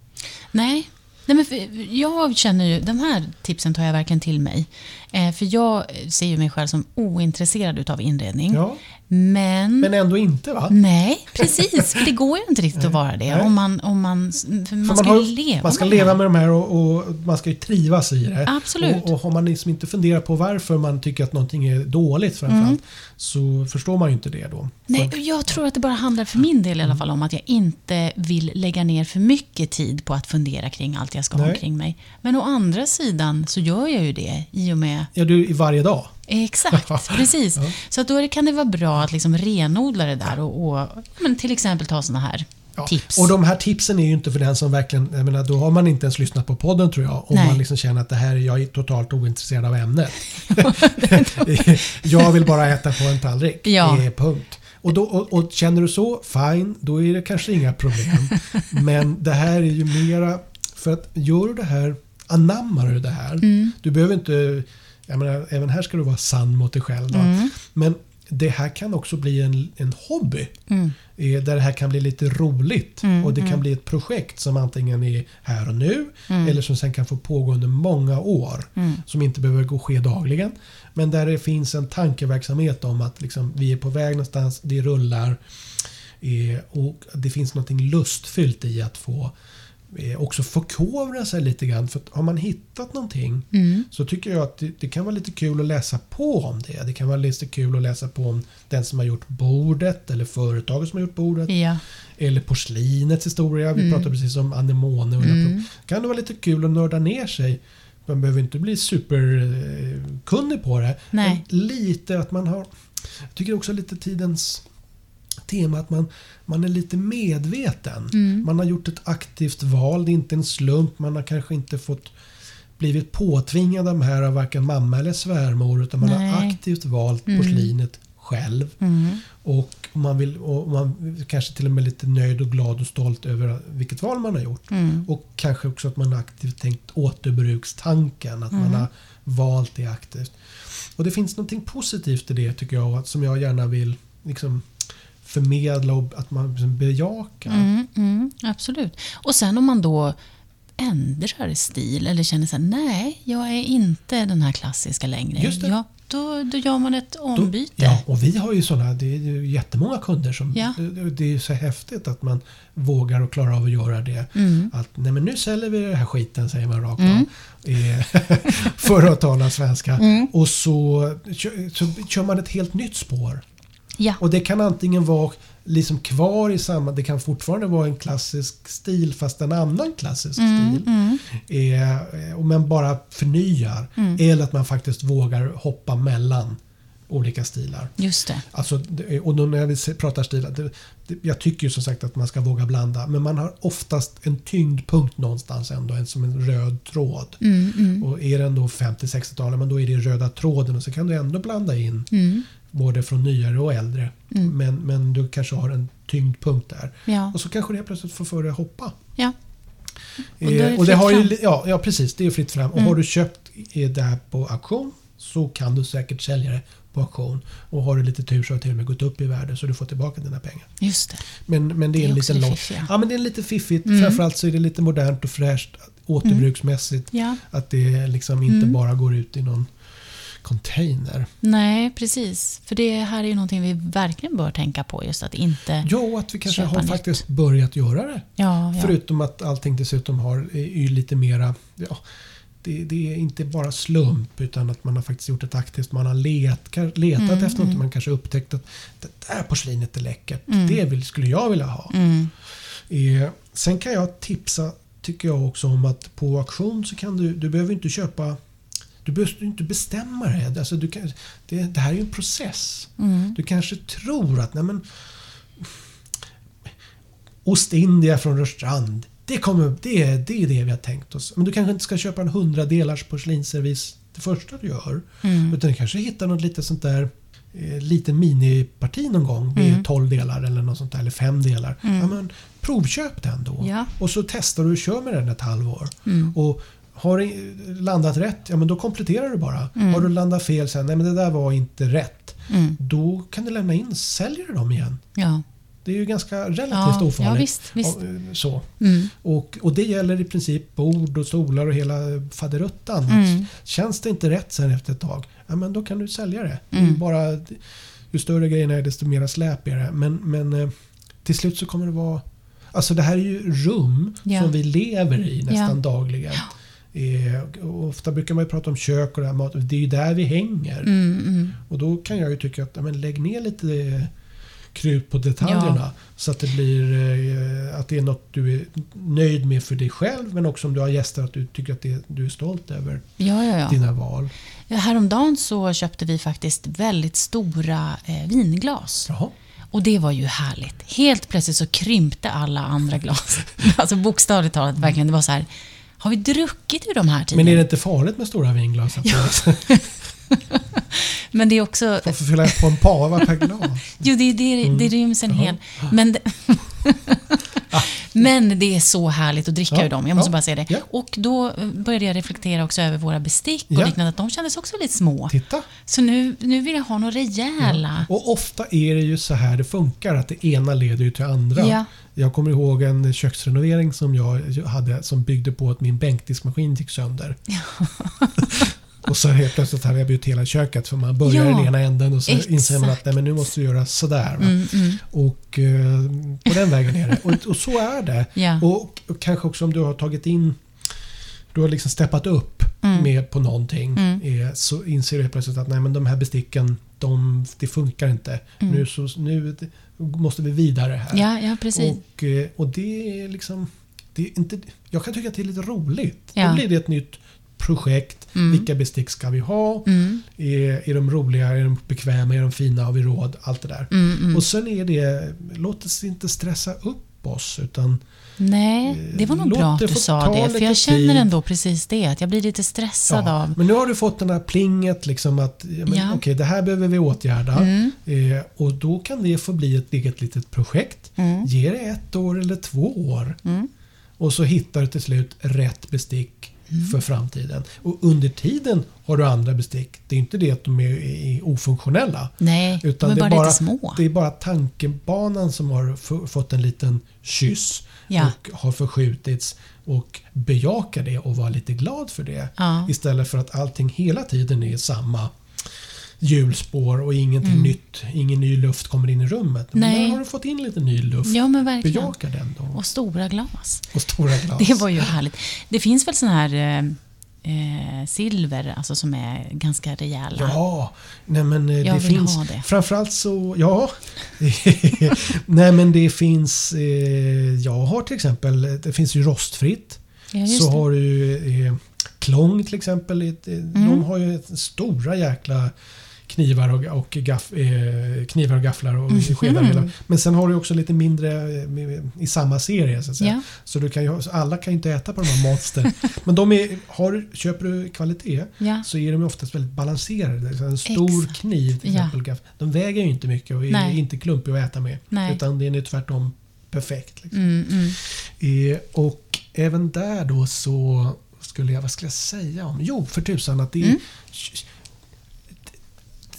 Speaker 2: Nej. Nej, men för jag känner ju, den här tipsen tar jag verkligen till mig. Eh, för jag ser ju mig själv som ointresserad utav inredning.
Speaker 1: Ja.
Speaker 2: Men,
Speaker 1: Men ändå inte
Speaker 2: Mm.
Speaker 1: va?
Speaker 2: nej, precis. För det går ju inte riktigt att vara det.
Speaker 1: Nej.
Speaker 2: Om man, om man, för man,
Speaker 1: För
Speaker 2: ska
Speaker 1: har
Speaker 2: ju leva
Speaker 1: man ska
Speaker 2: det här.
Speaker 1: leva med de här och, och man ska ju trivas i det.
Speaker 2: Absolut.
Speaker 1: Och, och har man liksom inte funderat på varför man tycker att någonting är dåligt framförallt så förstår man ju inte det då.
Speaker 2: Mm. Nej, jag tror att det bara handlar för min del i alla fall om att jag inte vill lägga ner för mycket tid på att fundera kring allt jag ska ha
Speaker 1: Nej.
Speaker 2: omkring mig. Men å andra sidan så gör jag ju det i och med...
Speaker 1: Ja, du i varje dag.
Speaker 2: Exakt, precis. Så att då är det- kan det vara bra att liksom renodla det där och, och men till exempel ta såna här
Speaker 1: Ja,
Speaker 2: tips.
Speaker 1: Och de här tipsen är ju inte för den som verkligen, jag menar, då har man inte ens lyssnat på podden tror jag. Om
Speaker 2: Nej.
Speaker 1: man liksom känner att det här är jag är totalt ointresserad av ämnet. jag vill bara äta på en tallrik.
Speaker 2: Ja.
Speaker 1: Det är punkt. Och, då, och, och känner du så, fine, då är det kanske inga problem. Men det här är ju mera, för att gör du det här, anammar du det här.
Speaker 2: Mm.
Speaker 1: Du behöver inte, jag menar, även här ska du vara sann mot dig själv. Då.
Speaker 2: Mm.
Speaker 1: Men det här kan också bli en, en hobby.
Speaker 2: mm,
Speaker 1: Eh, Där det här kan bli lite roligt och det kan bli ett projekt som antingen är här och nu eller som sen kan få pågå under många år. Som inte behöver gå ske dagligen. Men där det finns en tankeverksamhet om att liksom, vi är på väg någonstans, det rullar eh, och det finns något lustfyllt i att få eh, också förkovra sig lite grann. För att har man hittat någonting
Speaker 2: mm.
Speaker 1: så tycker jag att det, det kan vara lite kul att läsa på om det. Det kan vara lite kul att läsa på om den som har gjort bordet eller företaget som har gjort bordet.
Speaker 2: Ja.
Speaker 1: Eller porslinets historia. Vi pratade precis om anemone. Och
Speaker 2: Mm,
Speaker 1: kan det vara lite kul att nörda ner sig. Man behöver inte bli superkunnig på det.
Speaker 2: Nej.
Speaker 1: Men lite att man har... Jag tycker också lite tidens tema att man, man är lite medveten.
Speaker 2: mm,
Speaker 1: Man har gjort ett aktivt val. Det är inte en slump. Man har kanske inte fått blivit påtvingad de här av varken mamma eller svärmor. Utan man har
Speaker 2: Nej. Mm.
Speaker 1: aktivt valt porslinet själv. Och man, vill, och man kanske till och med lite nöjd och glad och stolt över vilket val man har gjort.
Speaker 2: mm.
Speaker 1: Och kanske också att man aktivt tänkt återbrukstanken. Att
Speaker 2: Mm.
Speaker 1: man har valt det aktivt. Och det finns någonting positivt i det tycker jag. att- Som jag gärna vill liksom förmedla och att man liksom bejakar.
Speaker 2: Mm, mm, absolut. Och sen om man då ändrar stil eller känner så här, nej, jag är inte den här klassiska längre.
Speaker 1: Just det.
Speaker 2: Ja, då, då gör man ett
Speaker 1: Då-
Speaker 2: ombyte.
Speaker 1: Ja, och vi har ju sådana, det är ju jättemånga kunder som,
Speaker 2: Ja.
Speaker 1: det, det är ju så häftigt att man vågar och klarar av att göra det.
Speaker 2: Mm.
Speaker 1: Att nej men nu säljer vi den här skiten säger man rakt av. Eh, För att tala svenska.
Speaker 2: Mm.
Speaker 1: Och så, kö- så kör man ett helt nytt spår.
Speaker 2: Ja.
Speaker 1: Och det kan antingen vara liksom kvar i samma, det kan fortfarande vara en klassisk stil fast en annan klassisk stil. Eh, och men bara förnyar. Eller att man faktiskt vågar hoppa mellan olika stilar.
Speaker 2: Just det.
Speaker 1: Alltså, det- och då när vi se- pratar stilar, det, det, jag tycker ju som sagt att man ska våga blanda. Men man har oftast en tyngdpunkt någonstans ändå, en, som en röd tråd.
Speaker 2: Mm,
Speaker 1: Och är den då 50-60-talet, men då är det röda tråden och så kan du ändå blanda in
Speaker 2: mm.
Speaker 1: både från nyare och äldre. Men, men du kanske har en tyngdpunkt där.
Speaker 2: Ja.
Speaker 1: Och så kanske det helt plötsligt får för dig att hoppa.
Speaker 2: ja. Och då är det
Speaker 1: Eh, och det
Speaker 2: fritt
Speaker 1: har ju,
Speaker 2: fram. Mm.
Speaker 1: li- ja, ja, precis. Det är fritt fram. Och har du köpt eh, det här på auktion så kan du säkert sälja det på auktion. Och har du lite tur så har det till och med gått upp i värde så du får tillbaka dina pengar.
Speaker 2: Just det.
Speaker 1: Men, men det är,
Speaker 2: Det är
Speaker 1: en
Speaker 2: också
Speaker 1: liten
Speaker 2: det
Speaker 1: lång...
Speaker 2: fiffiga. Mm.
Speaker 1: Ja, men det är lite fiffigt. Framförallt så är det lite modernt och fräscht återbruksmässigt.
Speaker 2: Ja.
Speaker 1: Att det liksom inte bara går ut i någon container.
Speaker 2: Mm. Nej, precis. För det här är ju någonting vi verkligen bör tänka på. Just att inte...
Speaker 1: Ja, och att vi kanske
Speaker 2: Köpa
Speaker 1: har
Speaker 2: nytt.
Speaker 1: faktiskt börjat göra det.
Speaker 2: Ja, ja.
Speaker 1: Förutom att allting dessutom har, är ju lite mera... Ja, det, det är inte bara slump utan att man har faktiskt gjort ett aktivt... Man har let, ka- letat efter något. Man kanske upptäckt att det där porslinet är läckert. Det vill, skulle jag vilja ha.
Speaker 2: Mm,
Speaker 1: Eh, sen kan jag tipsa, tycker jag också, om att på auktion så kan du... Du behöver inte köpa... Du behöver ju inte bestämma det. Alltså du kan, det. Det här är ju en process.
Speaker 2: mm,
Speaker 1: Du kanske tror att nej men, Ostindia från Rörstrand. Det, kommer, det, är- det är det vi har tänkt oss. Men du kanske inte ska köpa en hundradelars porslinsservis det första du gör.
Speaker 2: mm.
Speaker 1: Utan du kanske hittar något litet sånt där eh, lite miniparti någon gång med 12 delar eller något sånt där, eller fem delar. Ja, men provköp den då
Speaker 2: Ja. mm,
Speaker 1: och så testar du och kör med den ett halvår. Och har det landat rätt, ja men då kompletterar du bara. Har du landat fel sen, nej men det där var inte rätt. Då kan du lämna in, säljer du dem igen.
Speaker 2: mm. Ja.
Speaker 1: Det är ju ganska relativt
Speaker 2: Ja,
Speaker 1: ofarligt.
Speaker 2: ja, visst, visst. Mm,
Speaker 1: Och, eh, Så. Och, och det gäller i princip bord och stolar och hela faderuttan.
Speaker 2: Mm.
Speaker 1: Känns det inte rätt sen efter ett tag, ja, men då kan du sälja det. det är
Speaker 2: Mm.
Speaker 1: ju, bara, ju större grejerna är desto mera släp är det. Men, men eh, till slut så kommer det vara... Alltså det här är ju rum
Speaker 2: Ja.
Speaker 1: som vi lever i nästan
Speaker 2: Ja.
Speaker 1: dagligen. Eh, och- och ofta brukar man ju prata om kök och det här mat. Det är ju där vi hänger.
Speaker 2: Mm, mm.
Speaker 1: Och då kan jag ju tycka att ja, men lägg ner lite eh, krut på detaljerna.
Speaker 2: Ja.
Speaker 1: Så att det blir eh, att det är något du är nöjd med för dig själv men också om du har gäster att du tycker att det, du är stolt över
Speaker 2: Ja, ja, ja.
Speaker 1: dina val.
Speaker 2: Häromdagen så köpte vi faktiskt väldigt stora eh, vinglas.
Speaker 1: Jaha.
Speaker 2: Och det var ju härligt. Helt plötsligt så krympte alla andra glas. Alltså bokstavligt talat, verkligen. Det var så här, har vi druckit ur de här tidigare?
Speaker 1: Mm. Men är det inte farligt med stora vinglas? Att man
Speaker 2: Men det är också...
Speaker 1: får fylla på en pava per glas?
Speaker 2: Jo, det, är det, det
Speaker 1: Mm.
Speaker 2: ryms en hel... Men det, men det är så härligt att dricka
Speaker 1: Ja,
Speaker 2: ur dem, jag måste
Speaker 1: ja,
Speaker 2: bara säga det.
Speaker 1: ja.
Speaker 2: Och då började jag reflektera också över våra bestick och
Speaker 1: Ja.
Speaker 2: liknande, att de kändes också lite små.
Speaker 1: Titta!
Speaker 2: Så nu, nu vill jag ha några rejäla.
Speaker 1: Och ofta är det ju så här det funkar, att det ena leder ju till andra.
Speaker 2: Ja.
Speaker 1: Jag kommer ihåg en köksrenovering som jag hade som byggde på att min bänkdiskmaskin gick sönder. och så helt plötsligt hade jag bytt hela köket för man börjar i
Speaker 2: Ja,
Speaker 1: den ena änden och så inser man att
Speaker 2: exakt.
Speaker 1: nej, men nu måste du göra sådär. Va?
Speaker 2: Mm, mm.
Speaker 1: Och eh, på den vägen är det. Och, och så är det.
Speaker 2: Ja.
Speaker 1: Och, och kanske också om du har tagit in du har liksom steppat upp
Speaker 2: Mm.
Speaker 1: med på någonting
Speaker 2: Mm.
Speaker 1: eh, så inser du helt plötsligt att nej, men de här besticken, de, det funkar inte.
Speaker 2: Mm.
Speaker 1: Nu, så, nu måste vi vidare här.
Speaker 2: Ja, ja, precis.
Speaker 1: och, eh, och det är liksom... Det är inte, jag kan tycka att det är lite roligt.
Speaker 2: Ja.
Speaker 1: Då blir det ett nytt projekt.
Speaker 2: Mm.
Speaker 1: Vilka bestick ska vi ha?
Speaker 2: Mm,
Speaker 1: Är, är de roliga? Är de bekväma? Är de fina? Har vi råd? Allt det där.
Speaker 2: mm, mm.
Speaker 1: Och sen är det, låt oss inte stressa upp oss utan
Speaker 2: Nej, det var nog
Speaker 1: Eh, låt
Speaker 2: bra
Speaker 1: det
Speaker 2: att du
Speaker 1: få
Speaker 2: sa
Speaker 1: ta
Speaker 2: det. För
Speaker 1: lite
Speaker 2: jag känner
Speaker 1: tid.
Speaker 2: ändå precis det, att jag blir lite stressad
Speaker 1: ja.
Speaker 2: av...
Speaker 1: Men nu har du fått den här plinget liksom att ja, men,
Speaker 2: Ja.
Speaker 1: okej, det här behöver vi åtgärda.
Speaker 2: Mm,
Speaker 1: Eh, och då kan det få bli ett eget litet projekt.
Speaker 2: mm,
Speaker 1: Ge det ett år eller två år
Speaker 2: mm.
Speaker 1: och så hittar du till slut rätt bestick
Speaker 2: Mm.
Speaker 1: för framtiden. Och under tiden har du andra bestick. Det är inte det att de är, är ofunktionella.
Speaker 2: Nej,
Speaker 1: Utan
Speaker 2: de är
Speaker 1: det,
Speaker 2: bara,
Speaker 1: är bara,
Speaker 2: lite små.
Speaker 1: det är bara tankebanan som har f- fått en liten kyss
Speaker 2: Ja.
Speaker 1: och har förskjutits. Och bejaka det och vara lite glad för det.
Speaker 2: Ja.
Speaker 1: Istället för att allting hela tiden är samma hjulspår och ingenting nytt. Ingen ny luft kommer in i rummet. Men
Speaker 2: Mm. Nej.
Speaker 1: Där har du fått in lite ny luft.
Speaker 2: Ja, men verkligen.
Speaker 1: Bejaka den då.
Speaker 2: Och stora glas.
Speaker 1: Och stora glas.
Speaker 2: Det var ju härligt. Det finns väl sån här eh, eh, silver, alltså som är ganska rejäla?
Speaker 1: Ja, nej men eh,
Speaker 2: Jag
Speaker 1: det
Speaker 2: vill
Speaker 1: finns...
Speaker 2: ha det.
Speaker 1: Framförallt så, ja. nej men det finns... Eh, jag har till exempel, det finns ju rostfritt.
Speaker 2: Ja, just
Speaker 1: så
Speaker 2: det.
Speaker 1: har du ju, eh, Klång till exempel. ett- eh,
Speaker 2: Mm.
Speaker 1: De har ju ett- stora jäkla knivar och, och, gaff, eh, knivar och gafflar och
Speaker 2: Mhm.
Speaker 1: skedar. och hela. Men sen har du också lite mindre eh, med- i samma serie. Så, att säga.
Speaker 2: Ja.
Speaker 1: så du kan ju, ha- så alla kan ju inte äta på de här matster. Men de är, har, köper du kvalitet
Speaker 2: Ja.
Speaker 1: så är de ju oftast väldigt balanserade. Så en stor
Speaker 2: Exakt.
Speaker 1: kniv till
Speaker 2: Ja.
Speaker 1: exempel, gaff- de väger ju inte mycket och är
Speaker 2: Nej.
Speaker 1: inte klumpig att äta med.
Speaker 2: Nej.
Speaker 1: Utan den är tvärtom perfekt. Liksom.
Speaker 2: Mm, mm.
Speaker 1: Eh, och även där då så skulle jag, vad skulle jag säga om? Jo, för tusan att det
Speaker 2: Mm.
Speaker 1: är,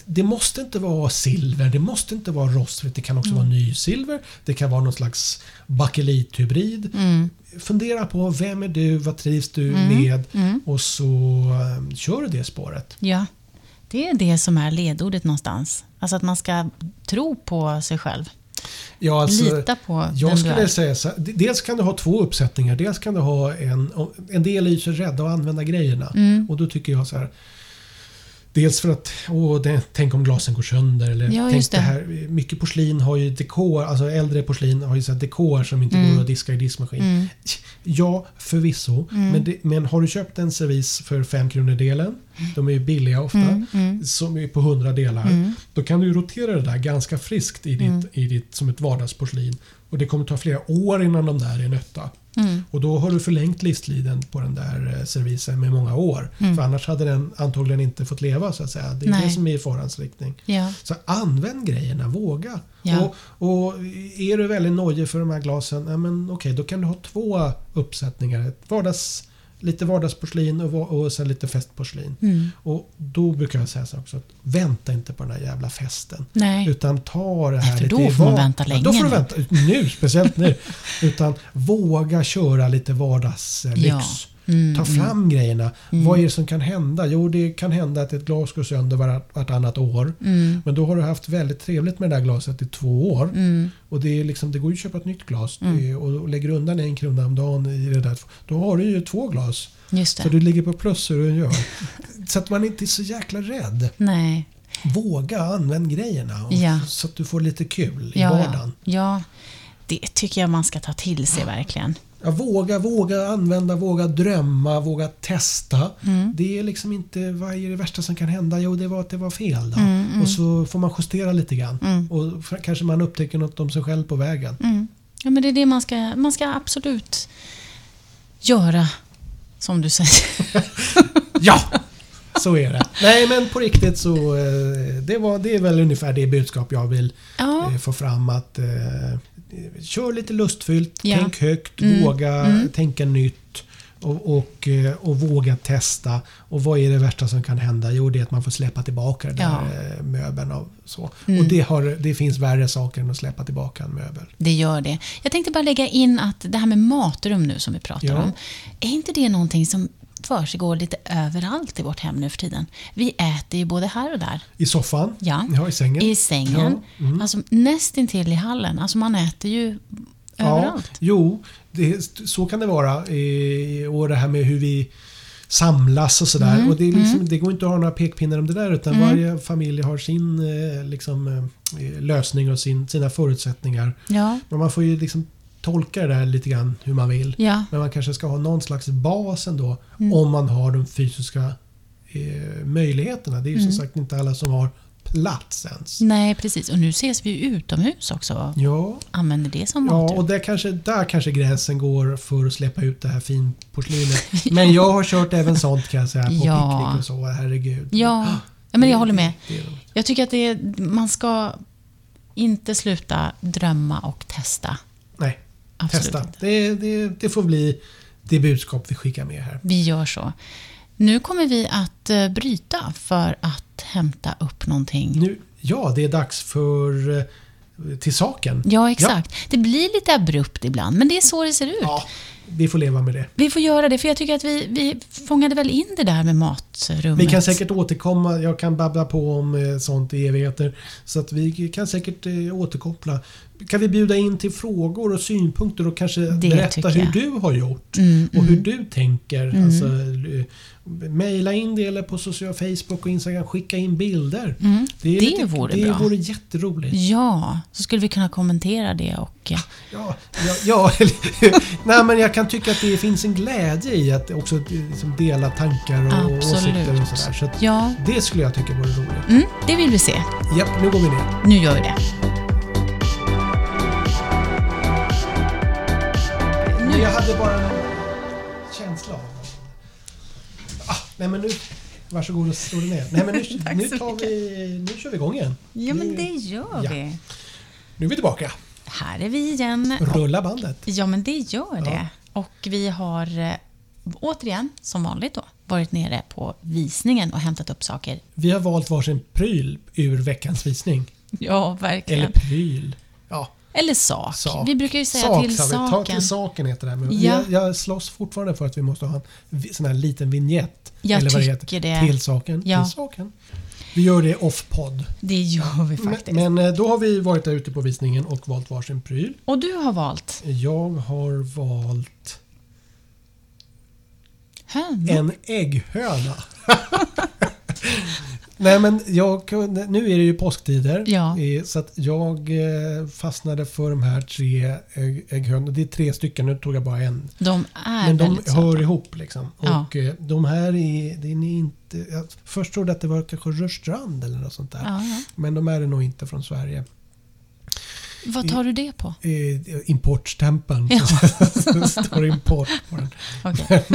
Speaker 1: Det måste inte vara silver, det måste inte vara rostfritt, det kan också
Speaker 2: Mm.
Speaker 1: vara nysilver, det kan vara någon slags bakelithybrid.
Speaker 2: Mm.
Speaker 1: Fundera på vem är du, vad trivs du med och så eh, kör du det spåret.
Speaker 2: mm. ja. Det är det som är ledordet någonstans. Alltså att man ska tro på sig själv.
Speaker 1: Ja, alltså,
Speaker 2: Lita på den
Speaker 1: Jag
Speaker 2: du är.
Speaker 1: skulle säga så här, d- dels kan du ha två uppsättningar. Dels kan du ha en, en del är ju så rädda att använda grejerna.
Speaker 2: Mm,
Speaker 1: Och då tycker jag så här. Dels för att, åh, det, tänk om glasen går sönder. Eller
Speaker 2: Ja,
Speaker 1: tänk
Speaker 2: just
Speaker 1: det.
Speaker 2: det.
Speaker 1: här, mycket porslin har ju dekor, alltså äldre porslin har ju så här dekor som inte
Speaker 2: Mm.
Speaker 1: går att diska i diskmaskin. Ja, förvisso.
Speaker 2: Mm.
Speaker 1: Men, det, men har du köpt en servis för 5 kronor delen,
Speaker 2: Mm.
Speaker 1: de är ju billiga ofta, som är på 100 delar.
Speaker 2: Mm.
Speaker 1: Då kan du ju rotera det där ganska friskt i ditt, i ditt, som ett vardagsporslin. Och det kommer ta flera år innan de där är nötta.
Speaker 2: mm,
Speaker 1: Och då har du förlängt livstiden på den där eh, servisen med många år. För annars hade den antagligen inte fått leva så att säga. Det är
Speaker 2: Mm. Nej.
Speaker 1: det som är i farans riktning.
Speaker 2: Ja.
Speaker 1: Så använd grejerna, våga.
Speaker 2: Ja.
Speaker 1: Och, och är du väldigt nojig för de här glasen, ja, men okej, då kan du ha två uppsättningar. Ett vardags, lite vardagsporslin och, va- och sen lite festporslin.
Speaker 2: Mm.
Speaker 1: Och då brukar jag säga så också, att vänta inte på den här jävla festen.
Speaker 2: Nej.
Speaker 1: Utan ta det
Speaker 2: Nej,
Speaker 1: här
Speaker 2: för
Speaker 1: lite
Speaker 2: då
Speaker 1: i
Speaker 2: får man
Speaker 1: var-
Speaker 2: vänta
Speaker 1: Ja, Då
Speaker 2: länge
Speaker 1: får du
Speaker 2: nu.
Speaker 1: vänta nu, speciellt nu. Utan våga köra lite vardagslyx.
Speaker 2: Ja. Mm,
Speaker 1: Ta fram grejerna. Vad är det som kan hända? Jo, det kan hända att ett glas går sönder vart- vartannat
Speaker 2: Mm.
Speaker 1: år. Men då har du haft väldigt trevligt med det där glaset i två år.
Speaker 2: Mm.
Speaker 1: Och det, är liksom, det går ju att köpa ett nytt glas Det är- och lägger undan en krona om dagen i det där. Då har du ju två glas.
Speaker 2: Just
Speaker 1: Så
Speaker 2: det.
Speaker 1: du ligger på plus hur du gör. så att man inte är så jäkla rädd.
Speaker 2: Nej.
Speaker 1: Våga använd grejerna och-
Speaker 2: Ja.
Speaker 1: så att du får lite kul i
Speaker 2: Ja, ja.
Speaker 1: vardagen.
Speaker 2: ja, det tycker jag man ska ta till sig verkligen.
Speaker 1: Ja, våga, våga använda, våga drömma, våga testa.
Speaker 2: Mm.
Speaker 1: Det är liksom inte, vad är det värsta som kan hända? Jo, det var att det var fel. Då.
Speaker 2: Mm,
Speaker 1: Och så får man justera lite grann. Och f- kanske man upptäcker något om sig själv på vägen.
Speaker 2: Mm. Ja, men det är det man ska, man ska absolut göra, som du säger.
Speaker 1: Ja! Så är det. Nej, men på riktigt så eh, det, var, det är väl ungefär det budskap jag vill
Speaker 2: Ja,
Speaker 1: eh, få fram att eh, kör lite lustfyllt,
Speaker 2: Ja. Mm.
Speaker 1: tänk högt, våga tänka nytt och, och, eh, och våga testa. Och vad är det värsta som kan hända? Jo, det är att man får släppa tillbaka den
Speaker 2: Ja. Mm.
Speaker 1: där eh, möbeln. Och, så. och det, har, det finns värre saker än att släppa tillbaka en möbel.
Speaker 2: det gör det. Jag tänkte bara lägga in att det här med matrum nu som vi pratar
Speaker 1: Ja.
Speaker 2: om. Är inte det någonting som försiggår lite överallt i vårt hem nu för tiden? Vi äter ju både här och där.
Speaker 1: I soffan,
Speaker 2: Ja.
Speaker 1: ja, i sängen. Mm.
Speaker 2: I sängen. Alltså nästintill i hallen. Alltså man äter ju överallt.
Speaker 1: Ja, jo, det, så kan det vara. Eh, Och det här med hur vi samlas och sådär. och det, är liksom, det går inte att ha några pekpinnar om det där utan varje familj har sin eh, liksom, eh, lösning och sin, sina förutsättningar.
Speaker 2: Ja.
Speaker 1: Men man får ju liksom tolka det där lite grann hur man vill.
Speaker 2: Ja.
Speaker 1: Men man kanske ska ha någon slags bas ändå om man har de fysiska eh, möjligheterna. Det är ju som sagt inte alla som har plats ens.
Speaker 2: Nej, precis. Och nu ses vi ju utomhus också.
Speaker 1: Ja,
Speaker 2: Använder det som
Speaker 1: Ja,
Speaker 2: matrum.
Speaker 1: och där kanske, där kanske gränsen går för att släppa ut det här finporslinet. Men jag har kört även sånt kan jag säga, på
Speaker 2: Ja.
Speaker 1: picknick och så. Herregud.
Speaker 2: Ja, ja men jag håller med.
Speaker 1: Det är de.
Speaker 2: Jag tycker att det är, man ska inte sluta drömma och testa.
Speaker 1: Nej,
Speaker 2: Absolut
Speaker 1: testa.
Speaker 2: inte.
Speaker 1: Det, det, det får bli det budskap vi skickar med här.
Speaker 2: Vi gör så. Nu kommer vi att eh, bryta för att hämta upp någonting.
Speaker 1: Nu, ja, det är dags för eh, Till saken.
Speaker 2: Ja, exakt. Det blir lite abrupt ibland, men det är så det ser ut.
Speaker 1: Ja, vi får leva med det.
Speaker 2: Vi får göra det, för jag tycker att vi, vi fångade väl in det där med matrummet.
Speaker 1: Vi kan säkert återkomma. Jag kan babbla på om eh, sånt i evigheter. Så att vi kan säkert eh, återkoppla. Kan vi bjuda in till frågor och synpunkter och kanske berätta
Speaker 2: tycker
Speaker 1: hur
Speaker 2: jag.
Speaker 1: du har gjort
Speaker 2: Mm,
Speaker 1: och hur du tänker. Alltså, eh, mejla in det eller på social Facebook och Instagram. Skicka in bilder.
Speaker 2: Mm. det vore
Speaker 1: det
Speaker 2: bra.
Speaker 1: vore jätteroligt.
Speaker 2: Ja, så skulle vi kunna kommentera det och... eh,
Speaker 1: Ja, ja, ja nej, men jag kan tycka att det finns en glädje i att också eh, liksom, dela tankar och åsikter
Speaker 2: Absolut.
Speaker 1: och sådär. Så att
Speaker 2: Ja,
Speaker 1: det skulle jag tycka vore roligt.
Speaker 2: mm, det vill vi se.
Speaker 1: Japp, nu går vi ner.
Speaker 2: Nu gör vi det.
Speaker 1: Men jag hade bara en känsla av ah, Nej men nu, varsågod och slå dig ner. Nej men nu,
Speaker 2: Tack
Speaker 1: nu,
Speaker 2: så
Speaker 1: tar
Speaker 2: mycket.
Speaker 1: vi, nu kör vi igång igen.
Speaker 2: Ja, men
Speaker 1: Nu-
Speaker 2: det gör
Speaker 1: Ja.
Speaker 2: vi.
Speaker 1: Nu är vi tillbaka.
Speaker 2: Här är vi igen.
Speaker 1: Rulla bandet.
Speaker 2: Ja, men det gör det. Och vi har eh, återigen, som vanligt då, varit nere på visningen och hämtat upp saker.
Speaker 1: Vi har valt varsin pryl ur veckans visning.
Speaker 2: Ja,
Speaker 1: Eller
Speaker 2: verkligen. Eller,
Speaker 1: pryl. Ja,
Speaker 2: sak.
Speaker 1: sak.
Speaker 2: Vi brukar ju säga
Speaker 1: sak,
Speaker 2: till
Speaker 1: sa vi. Ta
Speaker 2: saken.
Speaker 1: till saken heter det. Här. Men
Speaker 2: Ja.
Speaker 1: jag, jag slåss fortfarande för att vi måste ha en vi- sån här liten vignett.
Speaker 2: Jag
Speaker 1: eller vad det
Speaker 2: tycker
Speaker 1: heter.
Speaker 2: det.
Speaker 1: Till saken.
Speaker 2: Ja.
Speaker 1: Till saken. Vi gör det off-podd.
Speaker 2: det gör vi faktiskt.
Speaker 1: Men, men eh, då har vi varit där ute på visningen och valt varsin pryl.
Speaker 2: och du har valt
Speaker 1: Jag har valt
Speaker 2: hönor.
Speaker 1: en ägghöna. Nej men jag kunde, nu är det ju påsktider
Speaker 2: Ja.
Speaker 1: eh, så att jag eh, fastnade för de här tre ägg, ägghönorna. Det är tre stycken, nu tog jag bara en.
Speaker 2: De är
Speaker 1: Men de
Speaker 2: väldigt
Speaker 1: hör
Speaker 2: söta.
Speaker 1: ihop liksom.
Speaker 2: Ja.
Speaker 1: Och eh, de här är, det är inte... Jag först trodde jag att det var kanske Rörstrand eller något sånt där.
Speaker 2: Ja, ja.
Speaker 1: Men de är det nog inte från Sverige.
Speaker 2: Vad tar du det på?
Speaker 1: Eh, importstämpeln.
Speaker 2: Ja.
Speaker 1: Det står import på den.
Speaker 2: Okej.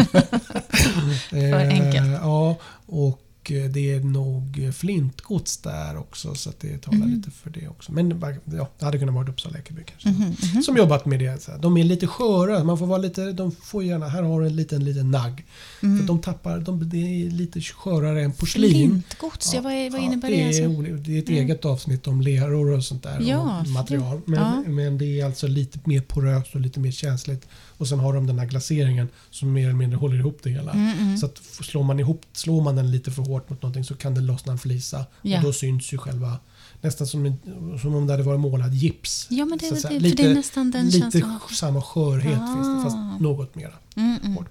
Speaker 1: För
Speaker 2: enkelt.
Speaker 1: Ja, och eh, det är nog flintgods där också så att det
Speaker 2: Mhm.
Speaker 1: talar lite för det också. Men bara- ja, det hade kunnat vara Uppsala Ekeby kanske.
Speaker 2: Mhm. Mm.
Speaker 1: Som jobbat med det. Så här. De är lite sköra, man får vara lite, de får gärna, här har du en liten liten nagg. För
Speaker 2: Mm.
Speaker 1: att de tappar, de, det är lite skörare än porslin.
Speaker 2: Flintgods, ja, vad, är- vad
Speaker 1: Ja,
Speaker 2: innebär
Speaker 1: det?
Speaker 2: det?
Speaker 1: är,
Speaker 2: Alltså?
Speaker 1: oli- det är ett eget avsnitt om leror och sånt där.
Speaker 2: Ja,
Speaker 1: och material. Men,
Speaker 2: ja.
Speaker 1: men det är alltså lite mer poröst och lite mer känsligt. Och sen har de den här glaseringen som mer eller mindre håller ihop det hela.
Speaker 2: Mm,
Speaker 1: Så att f- slår man, ihop, slår man den lite för hårt mot någonting så kan det lossna en flisa.
Speaker 2: Ja.
Speaker 1: Och då syns ju själva Nästan som, en- som om det hade varit målad gips.
Speaker 2: Ja, men det,
Speaker 1: Så att
Speaker 2: det,
Speaker 1: säga,
Speaker 2: för det är nästan den
Speaker 1: lite
Speaker 2: känslan. av-
Speaker 1: samma skörhet finns det,
Speaker 2: Ah.
Speaker 1: fast något mera.
Speaker 2: Mm, mm.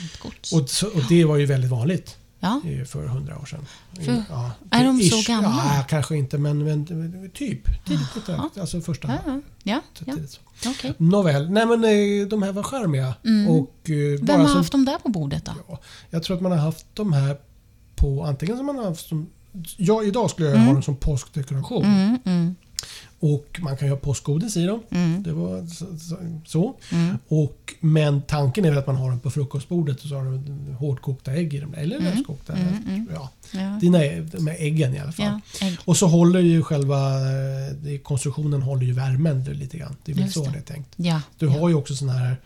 Speaker 2: Flintgods.
Speaker 1: Och, så, och det var ju väldigt vanligt.
Speaker 2: Ja.
Speaker 1: Det är ju för hundra år sedan.
Speaker 2: För-
Speaker 1: ja, typ
Speaker 2: är de så
Speaker 1: ish.
Speaker 2: gamla?
Speaker 1: Ja, kanske inte, men, men typ. Tidigt 90-talet, alltså första
Speaker 2: Ja,
Speaker 1: hand.
Speaker 2: ja, ja. ja.
Speaker 1: Tidigt så.
Speaker 2: okej.
Speaker 1: Nåväl, nej men eh, de här var charmiga. Och, eh, bara
Speaker 2: Mm. Vem har
Speaker 1: som-
Speaker 2: haft dem där på bordet då?
Speaker 1: Ja, jag tror att man har haft de här på antingen som man har haft som... Ja, idag skulle jag ha dem som påskdekoration.
Speaker 2: Mm, mm,
Speaker 1: Och man kan ju ha påskgodis i dem.
Speaker 2: mm.
Speaker 1: Det var så- så- så.
Speaker 2: Mm.
Speaker 1: Och, men tanken är väl att man har dem på frukostbordet och så har de hårdkokta ägg i dem. Eller löskokta.
Speaker 2: mm, mm.
Speaker 1: Ja,
Speaker 2: Ja.
Speaker 1: dina ägg- de här äggen i alla fall.
Speaker 2: Ja, ägg.
Speaker 1: Och så håller ju själva eh, det- konstruktionen håller ju värmen lite grann. Det är väl
Speaker 2: Just
Speaker 1: så
Speaker 2: det.
Speaker 1: det är tänkt.
Speaker 2: Ja.
Speaker 1: Du har ju också sån här,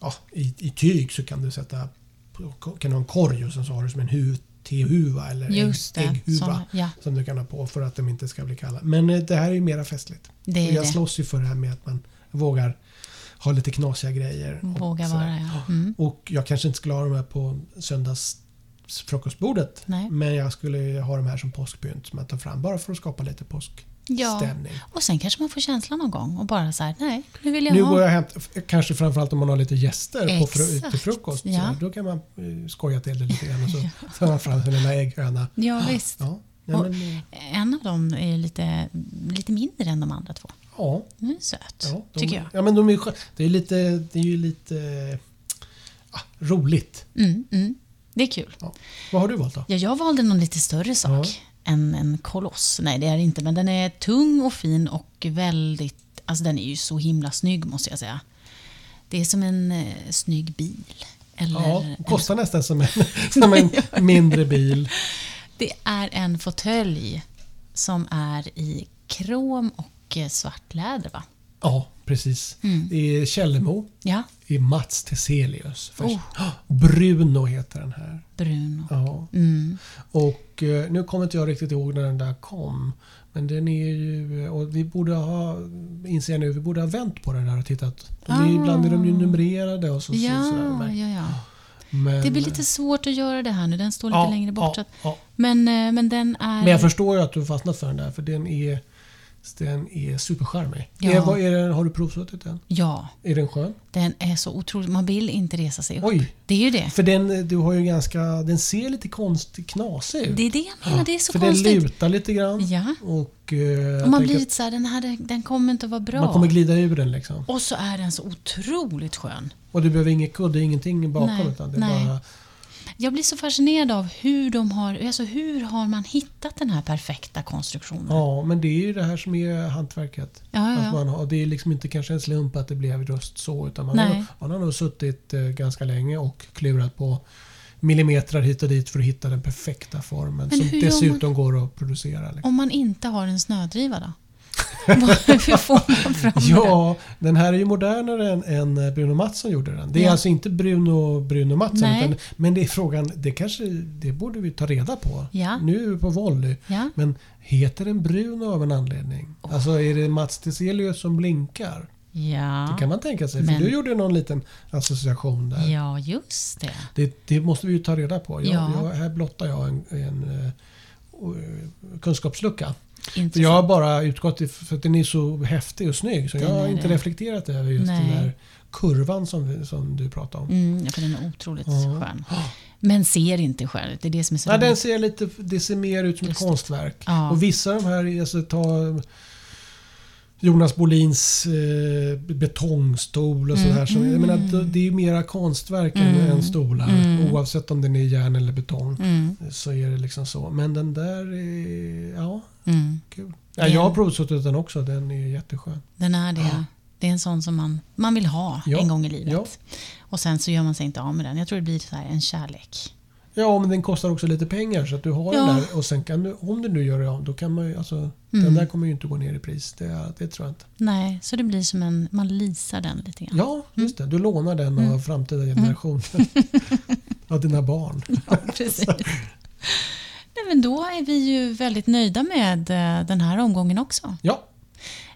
Speaker 1: ja, i, i tyg så kan du sätta, på- kan du ha en korg och sen så har du som en huv, tehuva eller ägg,
Speaker 2: Just det.
Speaker 1: ägghuva.
Speaker 2: Såna- ja.
Speaker 1: Som du kan ha på för att de inte ska bli kalla. Men eh, det här är ju mera festligt.
Speaker 2: Det är
Speaker 1: och jag
Speaker 2: det.
Speaker 1: slåss ju för det här med att man vågar ha lite knasiga grejer. och
Speaker 2: Våga
Speaker 1: sådär.
Speaker 2: vara, ja. Mm.
Speaker 1: Och jag kanske inte skulle ha de här på söndagsfrukostbordet.
Speaker 2: Nej.
Speaker 1: Men jag skulle ju ha de här som påskpynt som jag tar fram bara för att skapa lite
Speaker 2: Ja.
Speaker 1: påskstämning.
Speaker 2: Och sen kanske man får känslan någon gång och bara så här, nej, nu vill jag
Speaker 1: Nu
Speaker 2: ha.
Speaker 1: går jag hem, kanske framförallt om man har lite gäster på fru,
Speaker 2: Exakt,
Speaker 1: till frukost.
Speaker 2: ja.
Speaker 1: sådär. Då kan man eh, skoja till det lite grann och så tar man fram sin lilla ägghöna.
Speaker 2: Ja, visst.
Speaker 1: Ja, nej,
Speaker 2: Och-
Speaker 1: men, eh,
Speaker 2: En av dem är ju lite, lite mindre än de andra två.
Speaker 1: ja,
Speaker 2: Den är söt,
Speaker 1: ja, de,
Speaker 2: tycker jag.
Speaker 1: Ja, men de är, skö- det, är lite, det är ju lite eh, ah, roligt.
Speaker 2: Mm, mm. Det är kul.
Speaker 1: Ja. Vad har du valt då?
Speaker 2: Ja, jag valde någon lite större sak. En, en koloss. Nej, det är det inte. Men den är tung och fin och väldigt... Alltså den är ju så himla snygg måste jag säga. Det är som en eh, snygg bil. Eller,
Speaker 1: Ja, kostar nästan som en, som en mindre bil.
Speaker 2: Det är en fåtölj som är i krom och eh, svart läder va?
Speaker 1: Ja, precis.
Speaker 2: Mm.
Speaker 1: Det är Källemo
Speaker 2: Ja,
Speaker 1: i Mats Teselius.
Speaker 2: Oh.
Speaker 1: Bruno heter den här.
Speaker 2: brun och...
Speaker 1: Ja.
Speaker 2: Mm.
Speaker 1: Och eh, nu kommer inte jag riktigt ihåg när den där kom. Men den är ju, eh, och vi borde ha, inser jag nu, vi borde ha vänt på den där och tittat. Och det,
Speaker 2: Ah.
Speaker 1: Ibland är de ju numrerade och så. så- sådär.
Speaker 2: Ja,
Speaker 1: Men-
Speaker 2: ja, ja.
Speaker 1: men-
Speaker 2: Det blir lite svårt att göra det här nu. Den står lite
Speaker 1: ja,
Speaker 2: längre bort. så
Speaker 1: Ja,
Speaker 2: att-
Speaker 1: ja.
Speaker 2: Men, eh, men den är...
Speaker 1: Men jag förstår ju att du har fastnat för den där för den är, den är supercharmig.
Speaker 2: Ja.
Speaker 1: Är, vad är den, har du provsuttit den?
Speaker 2: Ja,
Speaker 1: Är den skön?
Speaker 2: den är så otroligt... Man vill inte resa sig upp.
Speaker 1: Oj! Eh,
Speaker 2: Det är ju det.
Speaker 1: För den, du har ju ganska, den ser lite konstig, knasig ut.
Speaker 2: Det är det jag menar, det är så
Speaker 1: för den
Speaker 2: konstigt.
Speaker 1: lutar lite grann.
Speaker 2: Ja.
Speaker 1: Och, eh, jag
Speaker 2: Och man
Speaker 1: tänker
Speaker 2: blir
Speaker 1: att
Speaker 2: lite så här, den, här, den kommer inte att vara bra.
Speaker 1: man kommer glida ur den liksom.
Speaker 2: Och så är den så otroligt skön.
Speaker 1: Och du behöver ingen kudde, ingenting bakom.
Speaker 2: Nej,
Speaker 1: utan det är
Speaker 2: nej.
Speaker 1: bara,
Speaker 2: Jag blir så fascinerad av hur de har, alltså hur har man hittat den här perfekta konstruktionen?
Speaker 1: ja, men det är ju det här som är hantverket.
Speaker 2: Ja, ja,
Speaker 1: Att
Speaker 2: ja.
Speaker 1: man har, det är liksom inte kanske en slump att det blev just så. Utan man,
Speaker 2: Nej.
Speaker 1: har, nog- man har nog suttit eh, ganska länge och klurat på millimeter hit och dit för att hitta den perfekta formen.
Speaker 2: Men
Speaker 1: som
Speaker 2: hur gör
Speaker 1: dessutom går att producera. Liksom.
Speaker 2: Om man inte har en snödriva då? hur får man fram den?
Speaker 1: Ja, den här är ju modernare än, än Bruno Mattsson gjorde den. Det är
Speaker 2: Ja.
Speaker 1: alltså inte Bruno, Bruno Mattsson.
Speaker 2: Nej.
Speaker 1: Utan, men det är frågan, det kanske det borde vi ta reda på.
Speaker 2: Ja.
Speaker 1: Nu är vi på volley.
Speaker 2: Ja,
Speaker 1: Men heter den Bruno av en anledning?
Speaker 2: Oh.
Speaker 1: Alltså är det Mats Tiselius som blinkar? Det
Speaker 2: ja.
Speaker 1: kan man tänka sig.
Speaker 2: Men-
Speaker 1: För du gjorde någon liten association där.
Speaker 2: ja just det.
Speaker 1: Det, det måste vi ju ta reda på. Jag,
Speaker 2: Ja.
Speaker 1: jag, här blottar jag en, en eh, eh, kunskapslucka. För
Speaker 2: Intressant.
Speaker 1: Jag har bara utgått if- för att den är så häftig och snygg. Så
Speaker 2: Den
Speaker 1: jag har
Speaker 2: är
Speaker 1: inte
Speaker 2: det.
Speaker 1: reflekterat över just
Speaker 2: Nej.
Speaker 1: den där kurvan som, vi- som du pratade om.
Speaker 2: Mm, ja, för den är otroligt
Speaker 1: Ja.
Speaker 2: skön. Men ser inte skön ut, det är det som är så
Speaker 1: Nej, den
Speaker 2: roligt.
Speaker 1: ser lite, det ser mer ut som ett
Speaker 2: Just det.
Speaker 1: konstverk.
Speaker 2: Ja.
Speaker 1: Och vissa av de här, alltså ta Jonas Bolins eh, betongstol och
Speaker 2: Mm,
Speaker 1: sådär. Mm, jag
Speaker 2: mm.
Speaker 1: menar, det- det är ju mera konstverk
Speaker 2: Mm,
Speaker 1: än, än stolar.
Speaker 2: mm.
Speaker 1: Oavsett om den är järn eller betong.
Speaker 2: Mm,
Speaker 1: Så är det liksom så. Men den där är, ja,
Speaker 2: mm.
Speaker 1: kul. Ja,
Speaker 2: Den-
Speaker 1: jag har provsuttit den också. Den är jätteskön.
Speaker 2: Den är det. Det är en sån som man, man vill ha
Speaker 1: Ja,
Speaker 2: en gång i livet.
Speaker 1: ja.
Speaker 2: Och sen så gör man sig inte av med den. Jag tror det blir så här en kärlek.
Speaker 1: Ja, men den kostar också lite pengar så att du har
Speaker 2: Ja.
Speaker 1: den där. Och sen kan du, om du nu gör det om, då kan man ju, alltså, den där kommer ju inte gå ner i pris. Det, det tror jag inte.
Speaker 2: Mm. Nej, så det blir som en, man leasar den lite grann.
Speaker 1: Ja, just det. Du lånar den
Speaker 2: Mm.
Speaker 1: av framtida generationer. av dina barn.
Speaker 2: Ja, precis. Nej, men då är vi ju väldigt nöjda med eh, den här omgången också.
Speaker 1: Ja,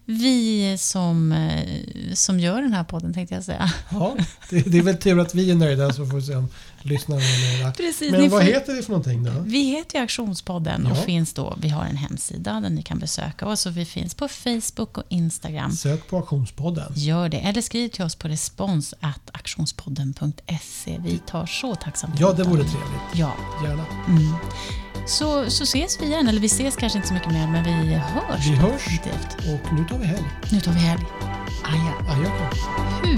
Speaker 2: Vi som, eh, som gör den här podden tänkte jag säga.
Speaker 1: Ja, det, det är väl tur att vi är nöjda så får vi se om lyssnarna är nöjda.
Speaker 2: Precis,
Speaker 1: Men vad heter det för någonting då?
Speaker 2: Vi heter ju Aktionspodden och
Speaker 1: Ja.
Speaker 2: finns då, vi har en hemsida där ni kan besöka oss och vi finns på Facebook och Instagram.
Speaker 1: Sök på Auktionspodden.
Speaker 2: Gör det, eller skriv till oss på respons.aktionspodden.se. Vi tar så tacksamt
Speaker 1: Ja,
Speaker 2: emot
Speaker 1: det vore
Speaker 2: dem.
Speaker 1: trevligt.
Speaker 2: Ja,
Speaker 1: Gärna.
Speaker 2: mm. så, så ses vi igen, eller vi ses kanske inte så mycket mer, men vi hörs.
Speaker 1: Vi
Speaker 2: då
Speaker 1: hörs.
Speaker 2: definitivt.
Speaker 1: Och nu tar vi helg.
Speaker 2: Nu tar vi helg. Aja.
Speaker 1: Adjö.
Speaker 2: Hur